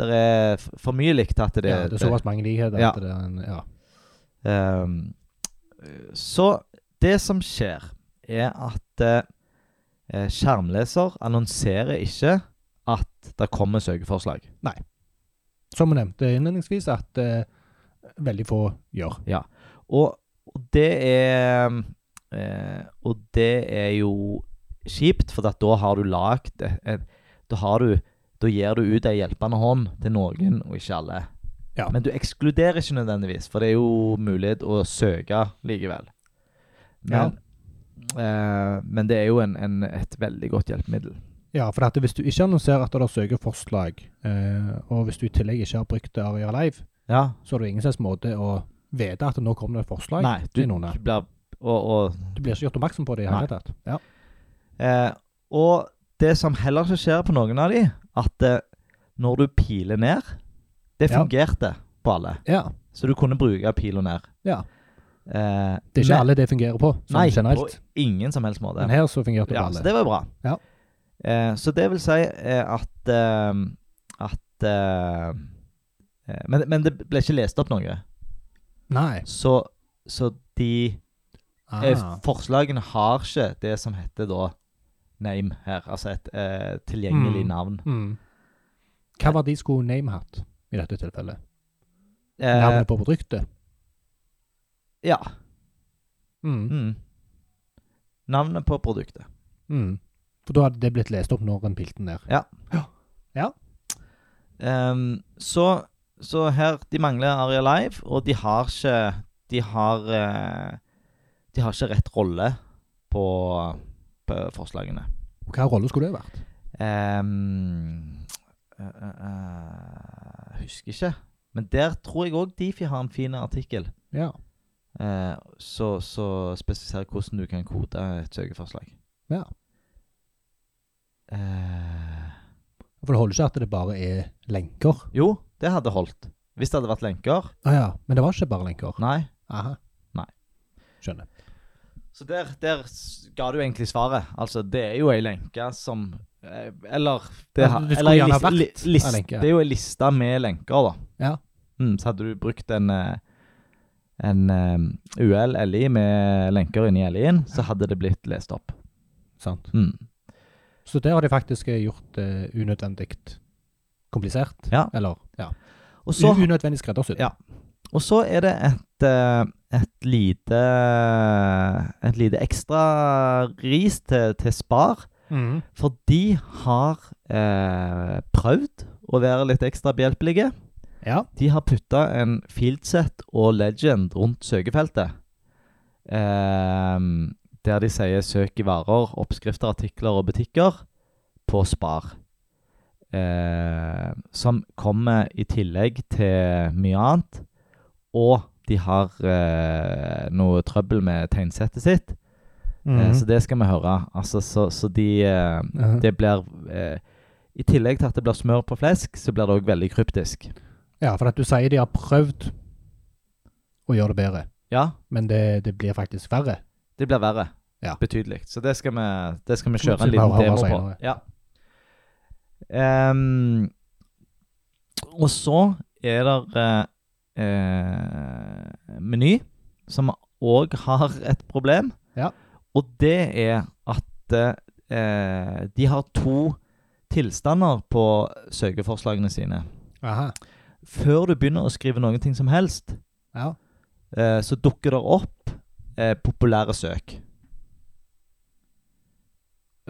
Speaker 1: der er f- for mye likt at det,
Speaker 2: Det, ja, det er såpass mange likheter.
Speaker 1: Ja.
Speaker 2: at Det er en, ja.
Speaker 1: Ehm, eh, så det som skjer, er at eh, eh, skjermleser annonserer ikke at det kommer søkeforslag.
Speaker 2: Som vi nevnte innledningsvis, at eh, veldig få gjør.
Speaker 1: Og, og det er eh, Og det er jo kjipt, for at da har du lagd et- et- Da har du Da gir du ut ei hjelpende hånd til noen, og ikke alle.
Speaker 2: Ja.
Speaker 1: Men du ekskluderer ikke nødvendigvis, for det er jo mulighet å søke likevel. Men, eh, men det er jo en, en, et veldig godt hjelpemiddel.
Speaker 2: Ja, for at hvis du ikke annonserer at det er søkeforslag, eh, og hvis du i tillegg ikke har brukt Aria Live,
Speaker 1: Ja.
Speaker 2: så er det jo ingen slags måte å vite at nå kommer det et forslag.
Speaker 1: Nei, du,
Speaker 2: til noen her.
Speaker 1: du blir og, og
Speaker 2: Du blir ikke gjort oppmerksom på det i
Speaker 1: Nei.
Speaker 2: hele tatt. Ja.
Speaker 1: Eh, og det som heller ikke skjer på noen av de, at eh, når du piler ned Det
Speaker 2: Ja.
Speaker 1: fungerte på alle,
Speaker 2: ja.
Speaker 1: så du kunne bruke pil og ned.
Speaker 2: Ja.
Speaker 1: Eh,
Speaker 2: Det er ikke
Speaker 1: men-
Speaker 2: alle det fungerer på, sånn
Speaker 1: Nei,
Speaker 2: generelt.
Speaker 1: på ingen som helst måte.
Speaker 2: Men her så fungerte det
Speaker 1: Ja,
Speaker 2: på
Speaker 1: så
Speaker 2: alle.
Speaker 1: det var bra.
Speaker 2: Ja.
Speaker 1: Eh, så det vil si eh, at eh, At eh, eh, men, men det ble ikke lest opp noe.
Speaker 2: Nei.
Speaker 1: Så, så de eh,
Speaker 2: Ah.
Speaker 1: forslagene har ikke det som heter da name her, altså et eh, tilgjengelig
Speaker 2: Mm.
Speaker 1: navn.
Speaker 2: Mm. Hva var de skulle name hatt i dette tilfellet?
Speaker 1: Eh,
Speaker 2: Navnet på produktet?
Speaker 1: Ja.
Speaker 2: Mm.
Speaker 1: Mm. Navnet på produktet.
Speaker 2: Mm. For da hadde det blitt lest opp når en pilte ned.
Speaker 1: Ehm, så, så her De mangler Aria Live, og de har ikke De har eh, De har ikke rett rolle på, på forslagene.
Speaker 2: Og hva rolle skulle det vært?
Speaker 1: Ehm, eh, eh, eh, husker ikke. Men der tror jeg òg Difi har en fin artikkel.
Speaker 2: Ja.
Speaker 1: Eh, så, så spesifiserer hvordan du kan kode et søkeforslag.
Speaker 2: Ja.
Speaker 1: Eh,
Speaker 2: For det holder ikke at det bare er lenker.
Speaker 1: jo, det hadde holdt. Hvis det hadde vært lenker.
Speaker 2: Ah, ja. Men det var ikke bare lenker.
Speaker 1: Nei.
Speaker 2: Aha.
Speaker 1: Nei.
Speaker 2: Skjønner.
Speaker 1: Så der, der s- ga du egentlig svaret. Altså, det er jo ei lenke som eh, Eller det,
Speaker 2: Ja,
Speaker 1: ha-
Speaker 2: det skulle
Speaker 1: eller ei
Speaker 2: gjerne
Speaker 1: lis-
Speaker 2: vært
Speaker 1: li- lis-
Speaker 2: ei lenke.
Speaker 1: Det er jo ei liste med lenker, da.
Speaker 2: Ja.
Speaker 1: Mm, så hadde du brukt en eh, en eh, UL LI med lenker inni LI-en, så hadde det blitt lest opp.
Speaker 2: Sant.
Speaker 1: Mm.
Speaker 2: Så der har de faktisk eh, gjort det unødvendig komplisert.
Speaker 1: Ja.
Speaker 2: Eller ja.
Speaker 1: Og så
Speaker 2: Un- unødvendig skreddersydd.
Speaker 1: Ja. Og så er det et, eh, et lite Et lite ekstra ris til, til Spar.
Speaker 2: Mm.
Speaker 1: For de har eh, prøvd å være litt ekstra behjelpelige.
Speaker 2: Ja.
Speaker 1: De har putta en fieldset og legend rundt søkefeltet. Ehm, der de sier 'søk i varer, oppskrifter, artikler og butikker' på Spar. Ehm, som kommer i tillegg til mye annet. Og de har eh, noe trøbbel med tegnsettet sitt, eh, så
Speaker 2: Mhm.
Speaker 1: det skal vi høre. Altså, så, så de eh,
Speaker 2: Ja.
Speaker 1: Det blir eh, I tillegg til at det blir smør på flesk, så blir det òg veldig kryptisk.
Speaker 2: ja, for at du sier de har prøvd å gjøre det bedre,
Speaker 1: Ja,
Speaker 2: men det, det blir faktisk verre.
Speaker 1: Det blir verre.
Speaker 2: Ja.
Speaker 1: Betydelig. Så det skal vi, det skal vi
Speaker 2: Så
Speaker 1: kjøre en
Speaker 2: vi bare
Speaker 1: liten
Speaker 2: høre
Speaker 1: demo på.
Speaker 2: senere.
Speaker 1: Ja. Ehm, og så er det eh, eh, Meny, som òg har et problem.
Speaker 2: Ja.
Speaker 1: Og det er at eh, de har to tilstander på søkeforslagene sine.
Speaker 2: Aha.
Speaker 1: Før du begynner å skrive noen ting som helst,
Speaker 2: Ja.
Speaker 1: eh, så dukker det opp eh, populære søk.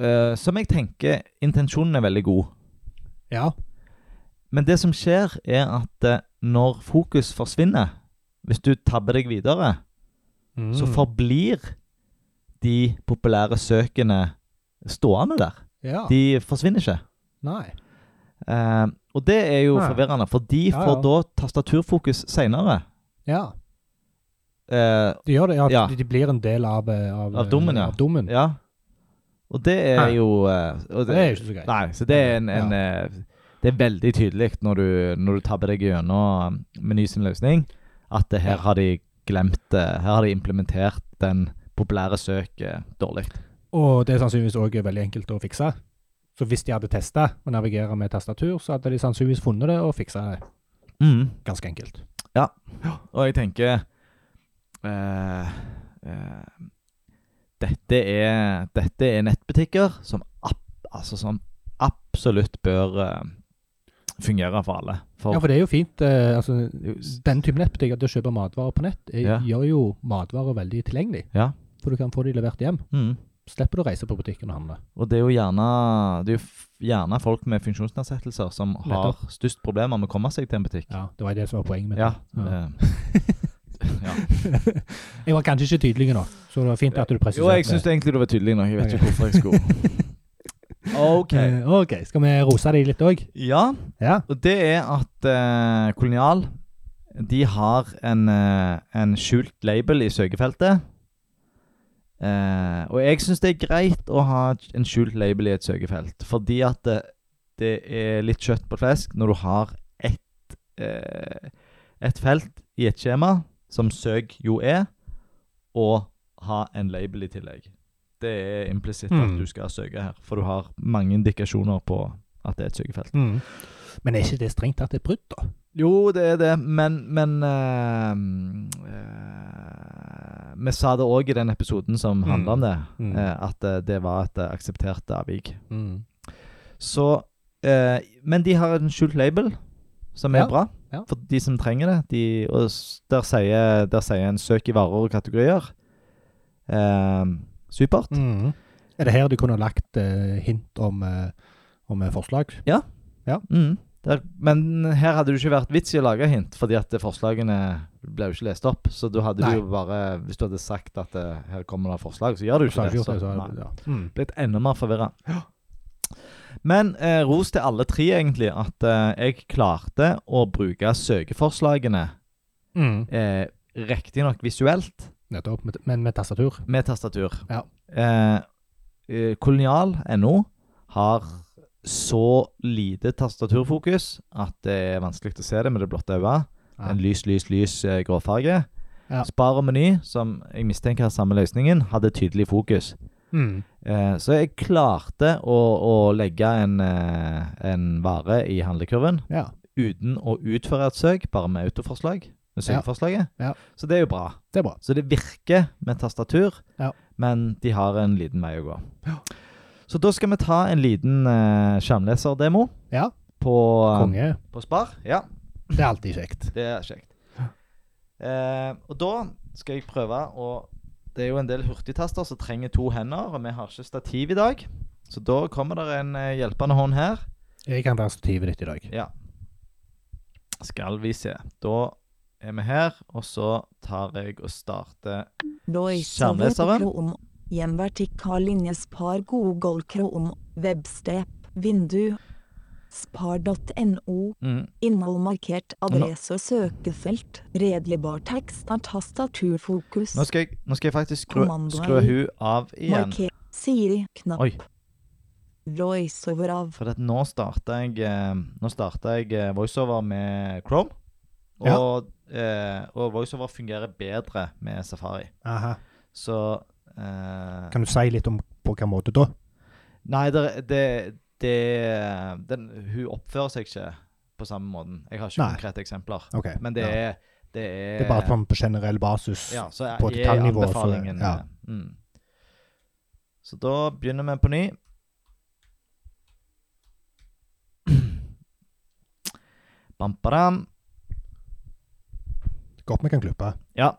Speaker 1: Eh, som jeg tenker intensjonen er veldig god.
Speaker 2: ja.
Speaker 1: Men det som skjer, er at eh, når fokus forsvinner, hvis du tabber deg videre, så
Speaker 2: Mm.
Speaker 1: forblir de populære søkene stående der.
Speaker 2: ja.
Speaker 1: De forsvinner ikke.
Speaker 2: Nei.
Speaker 1: Eh, og det er jo
Speaker 2: Nei.
Speaker 1: forvirrende, for de
Speaker 2: Ah. Ja,
Speaker 1: får
Speaker 2: ja.
Speaker 1: da tastaturfokus seinere.
Speaker 2: Ja.
Speaker 1: Eh,
Speaker 2: De gjør det. Ja,
Speaker 1: Ja.
Speaker 2: De, de blir en del av eh, Av,
Speaker 1: Av dommen, ja.
Speaker 2: Av dommen.
Speaker 1: ja. Og det er
Speaker 2: Nei.
Speaker 1: jo eh, og
Speaker 2: Ah. Det er jo ikke så greit.
Speaker 1: Nei, så det er en, en eh, Det er veldig tydelig når du, når du tabber deg gjennom eh, Meny sin løsning, at det her har de glemt det. Her har de implementert den populære søket dårlig.
Speaker 2: Og det er sannsynligvis òg veldig enkelt å fikse. Så hvis de hadde testa å navigere med tastatur, så hadde de sannsynligvis funnet det og fiksa det ganske enkelt.
Speaker 1: Mm. Og jeg tenker eh, eh, dette, er, dette er nettbutikker som, ab, altså som absolutt bør eh, fungere for alle. For,
Speaker 2: Ja, for det er jo fint. Eh, altså,
Speaker 1: jo s-
Speaker 2: den typen nettbutikker til å kjøpe matvarer på nett eh,
Speaker 1: Ja.
Speaker 2: gjør jo matvarer veldig tilgjengelig.
Speaker 1: Ja.
Speaker 2: For du kan få de levert hjem.
Speaker 1: mm.
Speaker 2: Slipper du å reise på butikken og handle.
Speaker 1: Og det er jo gjerne, det er jo f- gjerne folk med funksjonsnedsettelser som har størst problemer med å komme seg til en butikk.
Speaker 2: Ja, Det var det som var poenget mitt.
Speaker 1: Ja.
Speaker 2: Ja.
Speaker 1: eh, ja.
Speaker 2: Jeg var kanskje ikke tydelig nå, så det var fint at du presiserte.
Speaker 1: Jo, jeg syns egentlig du var tydelig nå. Jeg vet ikke hvorfor jeg skulle OK.
Speaker 2: Eh, OK. Skal vi rose de litt òg?
Speaker 1: Ja,
Speaker 2: Ja.
Speaker 1: og det er at eh, Kolonial de har en, eh, en skjult label i søkefeltet. Eh, og jeg syns det er greit å ha en skjult label i et søkefelt, fordi at det, det er litt kjøtt på flesk når du har ett eh, et felt i et skjema, som søk jo er, og ha en label i tillegg. Det er implisitt at
Speaker 2: Mm.
Speaker 1: du skal søke her, for du har mange indikasjoner på at det er et søkefelt.
Speaker 2: Mm. Men er ikke det strengt tatt et brudd, da?
Speaker 1: Jo, det er det, men, men eh, eh, Vi sa det òg i den episoden som handla om det,
Speaker 2: Mm.
Speaker 1: eh, at eh, det var et eh, akseptert avvik. Så eh, Men de har en skjult label, som er
Speaker 2: Ja,
Speaker 1: bra
Speaker 2: ja.
Speaker 1: for de som trenger det. De, og s- der sier, der sier en 'søk i varer og kategorier'. Eh, supert.
Speaker 2: Mhm. Er det her du kunne ha lagt eh, hint om, eh, om eh, forslag?
Speaker 1: Mm. Der, men her hadde det jo ikke vært vits i å lage hint, fordi at forslagene ble jo ikke lest opp. Så du hadde
Speaker 2: Nei.
Speaker 1: jo bare Hvis du hadde sagt at eh, her kommer det forslag, så gjør du
Speaker 2: Så
Speaker 1: ikke
Speaker 2: har jeg
Speaker 1: det.
Speaker 2: gjort
Speaker 1: Så,
Speaker 2: det, så
Speaker 1: nei.
Speaker 2: har jeg- ja. Mhm.
Speaker 1: Blitt enda mer forvirra. Men eh, ros til alle tre, egentlig, at eh, jeg klarte å bruke søkeforslagene
Speaker 2: Mhm.
Speaker 1: eh, riktignok visuelt,
Speaker 2: Nettopp. med- Men med tastatur.
Speaker 1: med tastatur.
Speaker 2: Ja.
Speaker 1: Eh, eh, Kolonial.no har så lite tastaturfokus at det er vanskelig å se det med det blotte øyet.
Speaker 2: Ja.
Speaker 1: En lys, lys, lys eh, gråfarge.
Speaker 2: Ja.
Speaker 1: Spar og meny, som jeg mistenker er samme løsningen, hadde tydelig fokus.
Speaker 2: Mhm.
Speaker 1: Eh, så jeg klarte å, å legge en, eh, en vare i handlekurven
Speaker 2: Ja.
Speaker 1: uten å utføre et søk, bare med autoforslag. Med
Speaker 2: Ja.
Speaker 1: søkeforslaget.
Speaker 2: Ja.
Speaker 1: Så det er jo bra.
Speaker 2: Det er bra.
Speaker 1: Så det virker med tastatur,
Speaker 2: Ja.
Speaker 1: men de har en liten vei å gå.
Speaker 2: Ja.
Speaker 1: Så da skal vi ta en liten eh, skjermleserdemo
Speaker 2: Ja.
Speaker 1: på, eh,
Speaker 2: Konge.
Speaker 1: på Spar. Ja,
Speaker 2: Det er alltid kjekt.
Speaker 1: det er kjekt. Eh, og da skal jeg prøve å Det er jo en del hurtigtaster som trenger to hender, og vi har ikke stativ i dag. Så da kommer det en eh, hjelpende hånd her.
Speaker 2: Jeg kan være stativet ditt i dag.
Speaker 1: Ja. Skal vi se. Da er vi her, og så tar jeg og starter Skjermleseren.
Speaker 3: Krom. Hjemvertikal linjespar Google Chrome. Webstep. Vindu. Spar.no.
Speaker 1: mm.
Speaker 3: Innhold markert adresse og søkefelt. Redelig bartekst er tastaturfokus.
Speaker 1: nå, skal jeg, nå skal jeg faktisk skru,
Speaker 3: Kommandoen.
Speaker 1: skru hun av igjen.
Speaker 3: Marker Siri. Knapp.
Speaker 1: Oi.
Speaker 3: Voiceover av.
Speaker 1: For at nå starta jeg, eh, nå starta jeg eh, voiceover med Chrome. Og, eh, og voiceover fungerer bedre med Safari.
Speaker 2: Aha.
Speaker 1: Så eh,
Speaker 2: Kan du si litt om på hvilken måte da?
Speaker 1: Nei, det, det, det den, Hun oppfører seg ikke på samme måten. Jeg har ikke
Speaker 2: Nei.
Speaker 1: konkrete eksempler.
Speaker 2: Ok.
Speaker 1: Men det
Speaker 2: ja.
Speaker 1: er Det er,
Speaker 2: det er bare sånn på generell basis.
Speaker 1: ja, så
Speaker 2: på
Speaker 1: jeg, er
Speaker 2: detaljnivå, så-
Speaker 1: anbefalingen.
Speaker 2: ja.
Speaker 1: eh, Mm. Så da begynner vi på ny. Bam, badam.
Speaker 2: Godt vi kan klippe.
Speaker 1: Ja.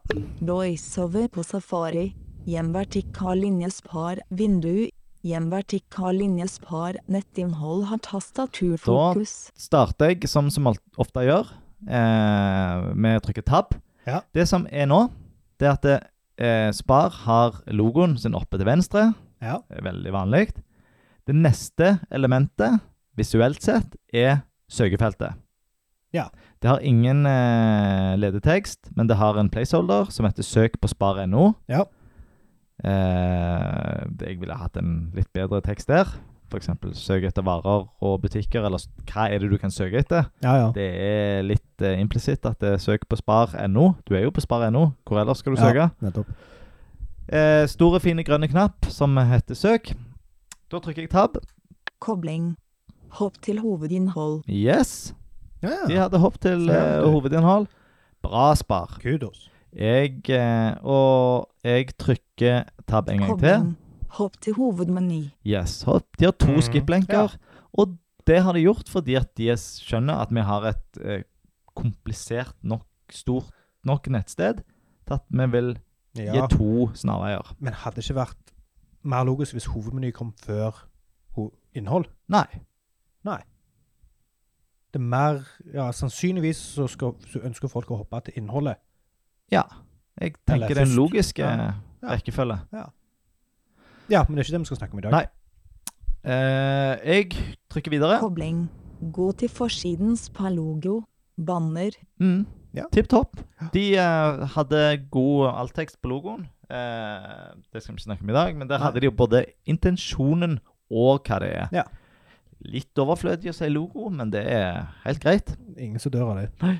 Speaker 3: Voiceover på safari. Hjemvertikal linjespar. Vindu. Hjemvertikal linjespar. Nettinnhold har tastaturfokus.
Speaker 1: starter jeg, som som alt- ofte jeg gjør, eh, med å trykke tab.
Speaker 2: Ja.
Speaker 1: Det som er nå, det er at det, eh, Spar har logoen sin oppe til venstre.
Speaker 2: Ja.
Speaker 1: Det er eh, Veldig vanlig. Det neste elementet, visuelt sett, er søkefeltet.
Speaker 2: Ja.
Speaker 1: Det har ingen eh, ledetekst, men det har en placeholder som heter søk på spar.no.
Speaker 2: Ja.
Speaker 1: Eh, jeg ville hatt en litt bedre tekst der. F.eks. søk etter varer og butikker, eller s- hva er det du kan søke etter?
Speaker 2: Ja, ja.
Speaker 1: Det er litt eh, implisitt at det er søk på spar.no. Du er jo på spar.no. Hvor ellers skal du
Speaker 2: Ja.
Speaker 1: søke?
Speaker 2: Nettopp.
Speaker 1: Eh, store, fine grønne knapp som heter søk. Da trykker jeg tab.
Speaker 3: Kobling. Hopp til hovedinnhold.
Speaker 1: Yes. De
Speaker 2: Ja.
Speaker 1: hadde hopp til eh,
Speaker 2: Selvfølgelig.
Speaker 1: hovedinnhold. Bra spar.
Speaker 2: Kudos.
Speaker 1: Jeg eh, Og jeg trykker tab en gang til.
Speaker 3: Kobling. Hopp til hovedmeny.
Speaker 1: Yes. Hopp. De har to
Speaker 2: Mhm.
Speaker 1: skip-lenker. Og det har de gjort fordi at de skjønner at vi har et eh, komplisert nok, stort nok nettsted til at vi vil gi
Speaker 2: Ja.
Speaker 1: to snarveier.
Speaker 2: Men hadde det ikke vært mer logisk hvis hovedmeny kom før ho innhold?
Speaker 1: Nei.
Speaker 2: Det er mer, ja, Sannsynligvis så, skal, så ønsker folk å hoppe til innholdet.
Speaker 1: Ja. Jeg tenker
Speaker 2: Eller
Speaker 1: den
Speaker 2: først.
Speaker 1: logiske
Speaker 2: Ja. Ja.
Speaker 1: eh, rekkefølge.
Speaker 2: Ja, men det er ikke det vi skal snakke om i dag.
Speaker 1: Nei. Eh, jeg trykker videre.
Speaker 3: Kobling. Gå til forsidens logo. Banner.
Speaker 1: Mm.
Speaker 2: Ja.
Speaker 1: Tipp topp. De eh, hadde god alltekst på logoen. Eh, det skal vi ikke snakke om i dag, men der
Speaker 2: Nei.
Speaker 1: hadde de jo både intensjonen og hva det er.
Speaker 2: Ja.
Speaker 1: Litt overflødig å si logo, men det er helt greit.
Speaker 2: Ingen som dør av det.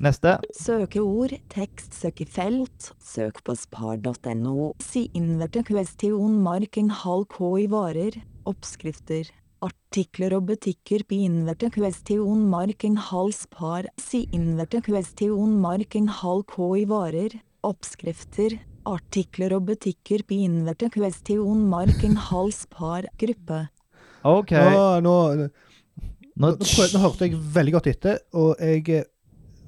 Speaker 1: Neste.
Speaker 3: Søkeord. Tekstsøkefelt. Søk på spar.no. Si inverte question marken halv k i varer. Oppskrifter. Artikler og butikker på inverte question marken halv spar. Si inverte question marken halv k i varer. Oppskrifter. Artikler og butikker på inverte question marken halv spar. Gruppe.
Speaker 1: OK.
Speaker 2: Nå, nå,
Speaker 1: Nå,
Speaker 2: Nå, nå, prøv, nå hørte jeg veldig godt etter, og jeg eh,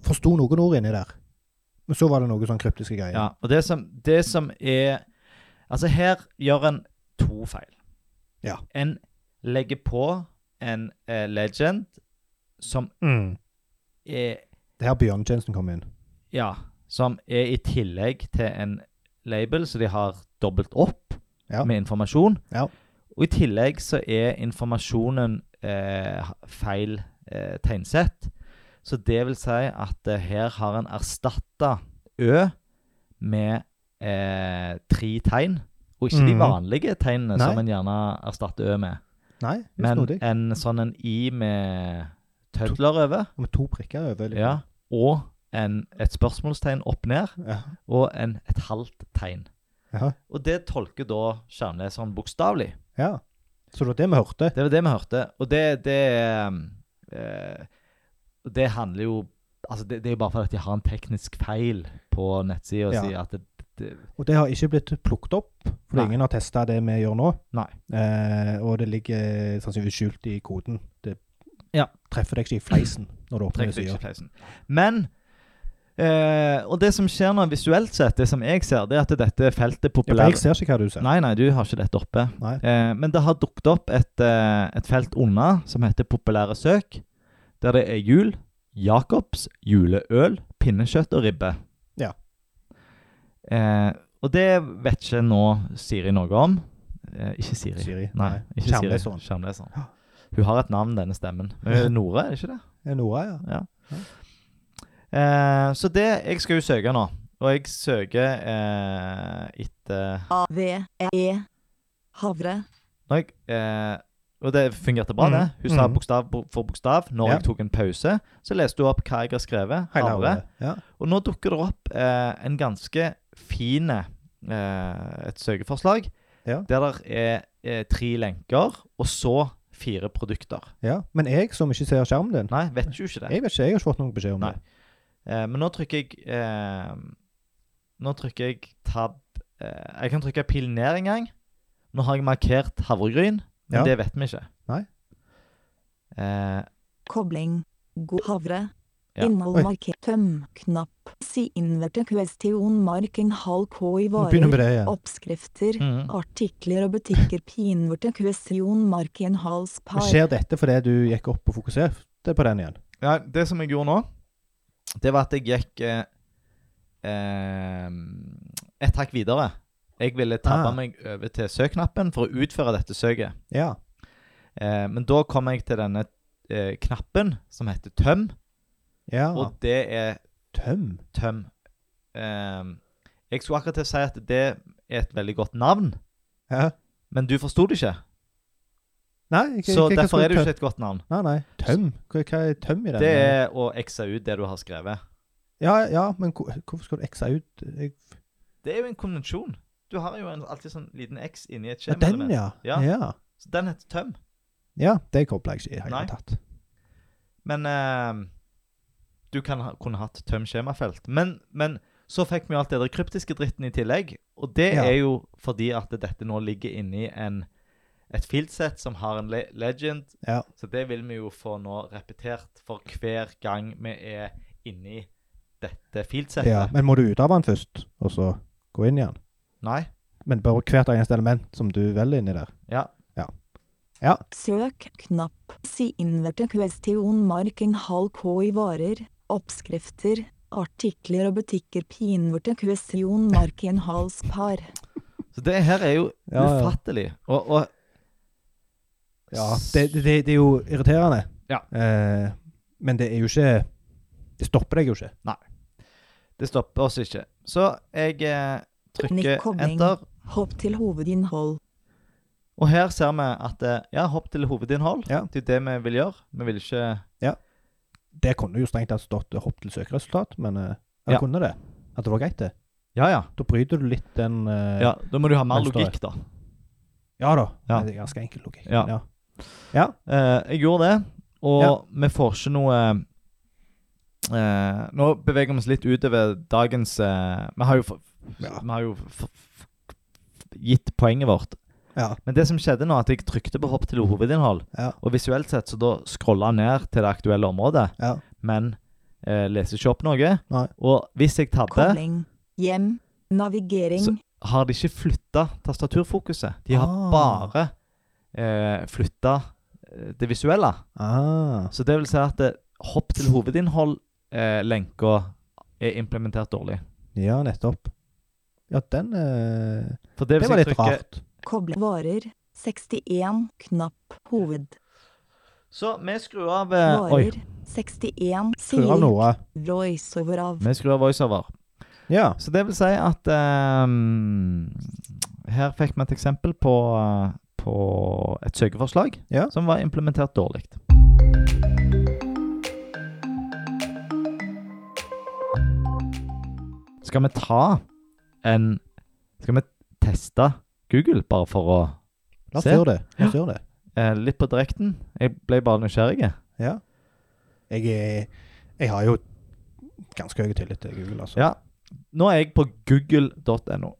Speaker 2: forsto noen ord inni der. Men så var det noen sånn kryptiske greier.
Speaker 1: Ja, og det som, det som er Altså, her gjør en to feil.
Speaker 2: Ja.
Speaker 1: En legger på en eh, legend som
Speaker 2: Mm.
Speaker 1: er
Speaker 2: Det er her bjørnetjenesten kom inn.
Speaker 1: Ja, som er i tillegg til en label, så de har dobbelt opp
Speaker 2: Ja.
Speaker 1: med informasjon.
Speaker 2: Ja.
Speaker 1: Og i tillegg så er informasjonen eh, feil eh, tegnsett. Så det vil si at eh, her har en erstatta Ø med eh, tre tegn. Og ikke de
Speaker 2: Mhm.
Speaker 1: vanlige tegnene
Speaker 2: Nei.
Speaker 1: som en gjerne erstatter Ø med.
Speaker 2: Nei, det er
Speaker 1: Men
Speaker 2: snodig.
Speaker 1: en sånn en I med tødler over,
Speaker 2: Med to prikker over. liksom.
Speaker 1: ja, og en, et spørsmålstegn opp ned
Speaker 2: Ja.
Speaker 1: og en, et halvt tegn.
Speaker 2: Ja.
Speaker 1: Og det tolker da skjermleseren bokstavelig.
Speaker 2: ja. Så det var det vi hørte.
Speaker 1: Det var det vi hørte. Og det, det eh, og Det handler jo Altså, det, det er jo bare fordi at de har en teknisk feil på nettsida og
Speaker 2: Ja.
Speaker 1: sier at det, det,
Speaker 2: Og det har ikke blitt plukket opp, for
Speaker 1: Nei.
Speaker 2: ingen har testa det vi gjør nå.
Speaker 1: Nei.
Speaker 2: Eh, og det ligger sannsynligvis skjult i koden. Det
Speaker 1: Ja.
Speaker 2: treffer deg ikke i fleisen når du åpner
Speaker 1: trekker du ikke
Speaker 2: sida.
Speaker 1: fleisen. Men eh, Og det som skjer nå visuelt sett, det som jeg ser, det er at dette feltet er
Speaker 2: Ja, for jeg
Speaker 1: populært.
Speaker 2: ser ikke hva du ser.
Speaker 1: Nei, nei, du har ikke dette oppe.
Speaker 2: Nei.
Speaker 1: Eh, men det har dukket opp et, eh, et felt unna som heter populære søk, der det er hjul, Jacobs juleøl, pinnekjøtt og ribbe.
Speaker 2: Ja.
Speaker 1: Eh, og det vet ikke nå Siri noe om. Eh, ikke Siri.
Speaker 2: Siri,
Speaker 1: Nei,
Speaker 2: nei.
Speaker 1: ikke Siri.
Speaker 2: Skjermleseren.
Speaker 1: Skjermleseren. Hun har et navn, denne stemmen. Men hun er Nora, er det ikke det?
Speaker 2: Er Nora, ja.
Speaker 1: Ja. Eh, så det Jeg skal jo søke nå. Og jeg søker eh, etter
Speaker 3: A-V-E. E. Havre.
Speaker 1: når jeg, eh, Og det fungerte bra,
Speaker 2: Mhm.
Speaker 1: det. Hun sa
Speaker 2: Mhm.
Speaker 1: bokstav bo- for bokstav. Når
Speaker 2: Ja.
Speaker 1: jeg tok en pause, så leste hun opp hva jeg har skrevet.
Speaker 2: Hele
Speaker 1: Havre.
Speaker 2: året. Ja.
Speaker 1: Og nå dukker det opp eh, en ganske fin eh, et søkeforslag.
Speaker 2: Ja.
Speaker 1: Der det er eh, tre lenker, og så fire produkter.
Speaker 2: ja. Men jeg som ikke ser skjermen din
Speaker 1: Nei, vet jo ikke det.
Speaker 2: Jeg vet ikke, jeg har ikke fått noen beskjed om
Speaker 1: Nei. Eh, men nå trykker jeg eh, Nå trykker jeg tab eh, Jeg kan trykke pil ned en gang. Nå har jeg markert havregryn, men
Speaker 2: Ja.
Speaker 1: det vet vi ikke.
Speaker 2: Nei.
Speaker 1: Eh,
Speaker 3: Kobling. God havre.
Speaker 1: Ja.
Speaker 2: Oi.
Speaker 3: Innhold marker. Tøm. Knapp. Si inverte question marking halv K i
Speaker 2: det. Begynner med
Speaker 3: varer.
Speaker 2: det igjen.
Speaker 3: Oppskrifter.
Speaker 1: mm.
Speaker 3: Artikler og butikker pinverte question marking hals
Speaker 2: Men
Speaker 3: par.
Speaker 2: Skjer dette fordi du gikk opp og fokuserte på den igjen?
Speaker 1: Ja, det som jeg gjorde nå, det var at jeg gikk eh, eh, et hakk videre. Jeg ville tabbe
Speaker 2: Ah.
Speaker 1: meg over til søknappen for å utføre dette søket.
Speaker 2: Ja.
Speaker 1: Eh, men da kom jeg til denne eh, knappen som heter tøm,
Speaker 2: ja.
Speaker 1: og det er
Speaker 2: Tøm.
Speaker 1: tøm. Eh, jeg skulle akkurat til å si at det er et veldig godt navn,
Speaker 2: Ja.
Speaker 1: men du forsto det ikke.
Speaker 2: Nei, jeg,
Speaker 1: Så
Speaker 2: jeg, jeg,
Speaker 1: derfor er det jo ikke et godt navn.
Speaker 2: Nei, nei. Tøm? Hva, hva er tøm i den?
Speaker 1: Det er å ekse ut det du har skrevet.
Speaker 2: Ja, ja, men hvor- hvorfor skal du ekse ut jeg...
Speaker 1: Det er jo en konvensjon. Du har jo en, alltid sånn liten X inni et
Speaker 2: ja, Den,
Speaker 1: skjemaelement.
Speaker 2: ja.
Speaker 1: Ja.
Speaker 2: ja.
Speaker 1: Så den heter tøm.
Speaker 2: Ja, det kobler jeg ikke i det hele
Speaker 1: Nei.
Speaker 2: tatt.
Speaker 1: Men eh, du kan ha, kunne hatt tøm skjemafelt. Men, men så fikk vi jo alt det der kryptiske dritten i tillegg. Og det
Speaker 2: Ja.
Speaker 1: er jo fordi at dette nå ligger inni en, et fildsett som har en le legend.
Speaker 2: Ja.
Speaker 1: Så det vil vi jo få nå repetert for hver gang vi er inni dette fieldsettet.
Speaker 2: ja. Men må du ut av den først, og så gå inn i den?
Speaker 1: Nei?
Speaker 2: Men bare hvert eneste element som du velger inni der?
Speaker 1: Ja.
Speaker 3: Søk. Knapp. Si inverte question marking halv K i varer. Oppskrifter. Artikler og butikker pinverte question marking hals par.
Speaker 1: Så det her er jo
Speaker 2: Ja, ja.
Speaker 1: ufattelig. Og, og
Speaker 2: Ja, det, det, det er jo irriterende.
Speaker 1: Ja.
Speaker 2: Eh, men det er jo ikke Det stopper deg jo ikke.
Speaker 1: det stopper oss ikke. Så jeg eh,
Speaker 3: Nick
Speaker 1: trykker
Speaker 3: Hovning.
Speaker 1: enter.
Speaker 3: Hopp til hovedinnhold.
Speaker 1: Og her ser vi at eh, ja, hopp til hovedinnhold.
Speaker 2: Ja.
Speaker 1: Det er jo det vi vil gjøre. Vi vil ikke
Speaker 2: Det kunne jo strengt tatt stått 'hopp til søkeresultat', men eh, ja.
Speaker 1: Ja.
Speaker 2: det kunne det. At det var greit, det.
Speaker 1: Ja, ja.
Speaker 2: Da bryter du litt den eh,
Speaker 1: ja da må du ha mer
Speaker 2: Mønsteret.
Speaker 1: logikk, da.
Speaker 2: ja da.
Speaker 1: Ja.
Speaker 2: Men Det er ganske enkel logikk.
Speaker 1: Ja. Eh, jeg gjorde det, og vi får ikke noe eh, Nå beveger vi oss litt utover dagens eh, Vi har jo, f-
Speaker 2: Ja.
Speaker 1: vi har jo f f gitt poenget vårt.
Speaker 2: Ja.
Speaker 1: Men det som skjedde nå, at jeg trykte på hopp til hovedinnhold,
Speaker 2: Ja.
Speaker 1: og visuelt sett så da scrolla jeg ned til det aktuelle området,
Speaker 2: Ja.
Speaker 1: men eh, leser ikke opp noe.
Speaker 2: Nei.
Speaker 1: Og hvis jeg tabber
Speaker 3: Kobling. Hjem. Navigering.
Speaker 1: Så- har de ikke flytta tastaturfokuset. De har
Speaker 2: Ah.
Speaker 1: bare eh, flytta det visuelle.
Speaker 2: Ah.
Speaker 1: Så det vil si at eh, hopp til hovedinnhold, eh, lenka, er implementert dårlig.
Speaker 2: ja, nettopp. Ja, den eh,
Speaker 1: For det,
Speaker 2: Det
Speaker 1: hvis
Speaker 2: var
Speaker 1: jeg
Speaker 2: litt
Speaker 1: trykker-
Speaker 2: rart.
Speaker 3: Koble varer. 61. Knapp. Hoved.
Speaker 1: Så vi skrur av eh, Oi.
Speaker 3: Varer. 61.
Speaker 2: Skru av
Speaker 3: Sier.
Speaker 2: noe.
Speaker 3: Royce over av.
Speaker 1: Vi skrur av voiceover.
Speaker 2: Ja.
Speaker 1: Så det vil si at ehm, Her fikk vi et eksempel på, eh, på et søkeforslag
Speaker 2: Ja.
Speaker 1: som var implementert dårlig. Skal vi ta en Skal vi teste Google, bare for å
Speaker 2: La oss
Speaker 1: Se.
Speaker 2: gjøre det. La oss gjøre det.
Speaker 1: eh, Litt på direkten. Jeg ble bare nysgjerrig.
Speaker 2: Ja. Jeg, er, jeg har jo ganske høy tillit til Google, altså.
Speaker 1: Ja. Nå er jeg på google.no.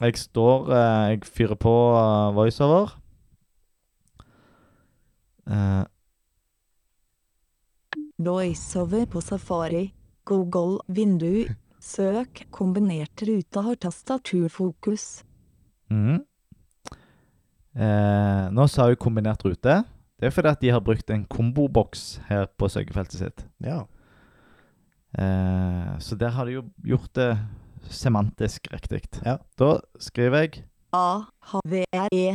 Speaker 1: Jeg står eh, Jeg fyrer på eh, voiceover. Eh,
Speaker 3: Royce over på safari. Google. Vindu. Søk. Kombinert rute har tastaturfokus.
Speaker 1: mhm. eh, nå sa hun kombinert rute. Det er fordi at de har brukt en komboboks her på søkefeltet sitt.
Speaker 2: Ja.
Speaker 1: Eh, så der har de jo gjort det semantisk riktig.
Speaker 2: Ja.
Speaker 1: Da skriver jeg
Speaker 3: A. H-V-R-E.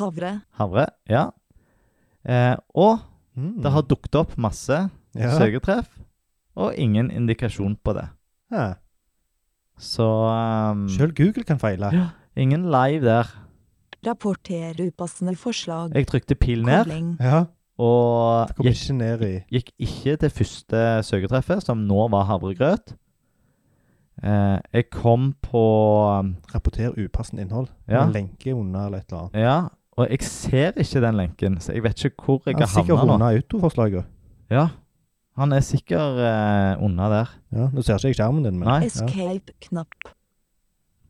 Speaker 3: Havre.
Speaker 1: havre. Ja. Eh, og
Speaker 2: Mm.
Speaker 1: det har dukket opp masse
Speaker 2: ja.
Speaker 1: søketreff, og ingen indikasjon på det.
Speaker 2: Ja.
Speaker 1: Så ehm,
Speaker 2: Selv Google kan feile.
Speaker 1: Ja. ingen live der.
Speaker 3: Rapporter upassende forslag.
Speaker 1: Jeg trykte pil ned,
Speaker 3: Kobling.
Speaker 2: Ja,
Speaker 1: og
Speaker 2: det kommer
Speaker 1: gikk,
Speaker 2: ikke ned i
Speaker 1: gikk ikke til første søketreffet, som nå var havregrøt. Eh, jeg kom på ehm,
Speaker 2: rapporter upassende innhold.
Speaker 1: Ja.
Speaker 2: En lenke under eller et eller annet.
Speaker 1: Ja, og jeg ser ikke den lenken, så jeg vet ikke hvor jeg
Speaker 2: Han
Speaker 1: har
Speaker 2: er sikkert
Speaker 1: havna nå.
Speaker 2: unna autoforslaget.
Speaker 1: Ja, han er sikkert eh, unna der.
Speaker 2: Ja, nå ser ikke jeg skjermen din, men
Speaker 1: Nei.
Speaker 3: Escape-knapp.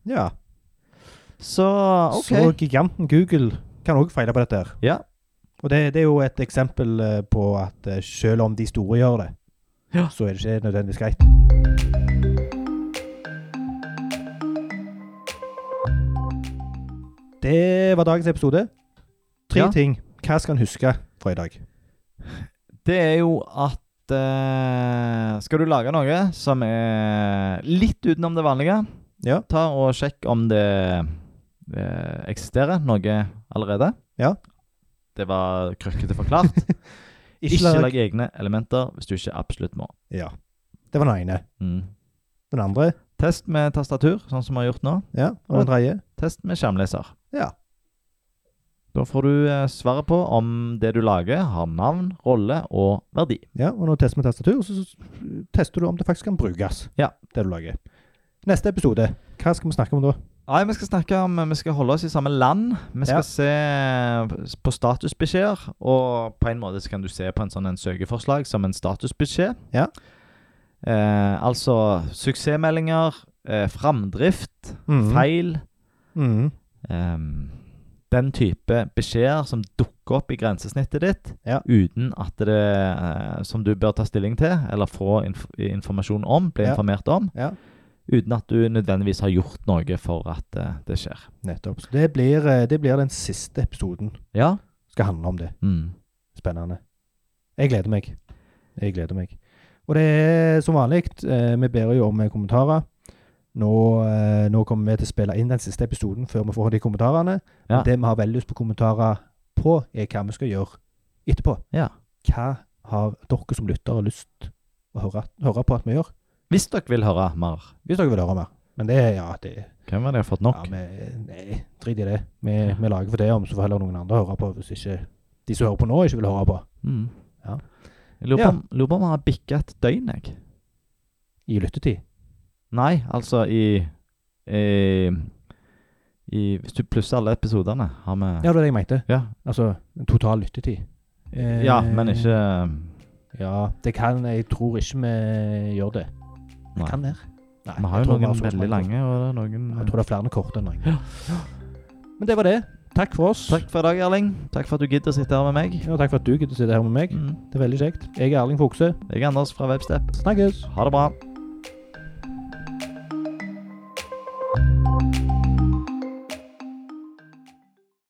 Speaker 2: Ja.
Speaker 1: Så Ah, OK.
Speaker 2: Så giganten Google kan òg feile på dette her.
Speaker 1: Ja.
Speaker 2: Og det, det er jo et eksempel eh, på at eh, selv om de store gjør det,
Speaker 1: Ja.
Speaker 2: så er det ikke nødvendigvis greit. Det var dagens episode. Tre
Speaker 1: Ja.
Speaker 2: ting. Hva skal en huske fra i dag?
Speaker 1: Det er jo at eh, Skal du lage noe som er litt utenom det vanlige,
Speaker 2: Ja.
Speaker 1: ta og sjekk om det eh, eksisterer noe allerede.
Speaker 2: Ja.
Speaker 1: Det var krøkkete forklart. ikke lag egne elementer hvis du ikke absolutt må.
Speaker 2: Ja. Det var den ene.
Speaker 1: Mm.
Speaker 2: Den andre,
Speaker 1: Test med tastatur, sånn som vi har gjort nå.
Speaker 2: ja, og den tredje.
Speaker 1: Test med skjermleser.
Speaker 2: Ja.
Speaker 1: Da får du eh, svaret på om det du lager, har navn, rolle og verdi.
Speaker 2: Ja, og når du tester med tastatur, så så tester du om det faktisk kan brukes.
Speaker 1: Ja.
Speaker 2: Det du lager. Neste episode, hva skal vi snakke om da?
Speaker 1: Nei, vi skal snakke om Vi skal holde oss i samme land. Vi skal
Speaker 2: Ja.
Speaker 1: se på statusbeskjeder. Og på en måte så kan du se på en sånn en søkeforslag som en statusbeskjed.
Speaker 2: Ja.
Speaker 1: Eh, altså suksessmeldinger, eh, framdrift,
Speaker 2: Mhm.
Speaker 1: feil
Speaker 2: Mhm.
Speaker 1: ehm, Den type beskjeder som dukker opp i grensesnittet ditt
Speaker 2: Ja.
Speaker 1: uten at det eh, Som du bør ta stilling til, eller få inf informasjon om, bli
Speaker 2: Ja.
Speaker 1: informert om.
Speaker 2: Ja.
Speaker 1: Uten at du nødvendigvis har gjort noe for at eh, det skjer.
Speaker 2: Nettopp. Så det blir, eh, det blir den siste episoden.
Speaker 1: Ja.
Speaker 2: Skal handle om det.
Speaker 1: Mm.
Speaker 2: Spennende. Jeg gleder meg. Jeg gleder meg. Og det er som vanlig, eh, vi ber jo om eh, kommentarer. Nå, eh, nå kommer vi til å spille inn den siste episoden før vi får de kommentarene.
Speaker 1: Ja.
Speaker 2: Men Det vi har veldig lyst på kommentarer på, er hva vi skal gjøre etterpå.
Speaker 1: Ja.
Speaker 2: Hva har dere som lyttere lyst å høre, høre på at vi gjør?
Speaker 1: Hvis dere vil høre mer
Speaker 2: Hvis dere vil høre mer. Men det, ja, det
Speaker 1: Hvem var det jeg har fått nok?
Speaker 2: ja, vi, Nei, drit i det. Vi, vi lager for det om, så får heller noen andre høre på hvis ikke de som hører på nå, ikke vil høre på.
Speaker 1: mm.
Speaker 2: Ja.
Speaker 1: Jeg lurer på
Speaker 2: Ja.
Speaker 1: om- lurer på om vi har bikka et døgn, jeg.
Speaker 2: I lyttetid.
Speaker 1: Nei, altså i, i, i Hvis du plusser alle episodene, har vi
Speaker 2: Ja, det var det jeg mente.
Speaker 1: Ja.
Speaker 2: Altså en total lyttetid. Eh,
Speaker 1: Ja, men ikke eh,
Speaker 2: Ja, det kan Jeg tror ikke vi gjør det. Det
Speaker 1: Nei.
Speaker 2: kan være. Nei,
Speaker 1: Vi har
Speaker 2: jeg
Speaker 1: jo
Speaker 2: tror vi
Speaker 1: noen
Speaker 2: så
Speaker 1: veldig
Speaker 2: mange.
Speaker 1: lange, og det er noen eh.
Speaker 2: Jeg tror det er flere enn korte enn lange.
Speaker 1: Ja.
Speaker 2: Men det var det. Takk for oss.
Speaker 1: Takk for i dag, Erling. Takk for at du gidder å sitte her med meg.
Speaker 2: Ja, takk for at du gidder å sitte her med meg.
Speaker 1: Mm.
Speaker 2: Det er veldig kjekt. Jeg er Erling Fokse.
Speaker 1: Jeg er Anders fra Webstep.
Speaker 2: Snakkes.
Speaker 1: Ha det bra.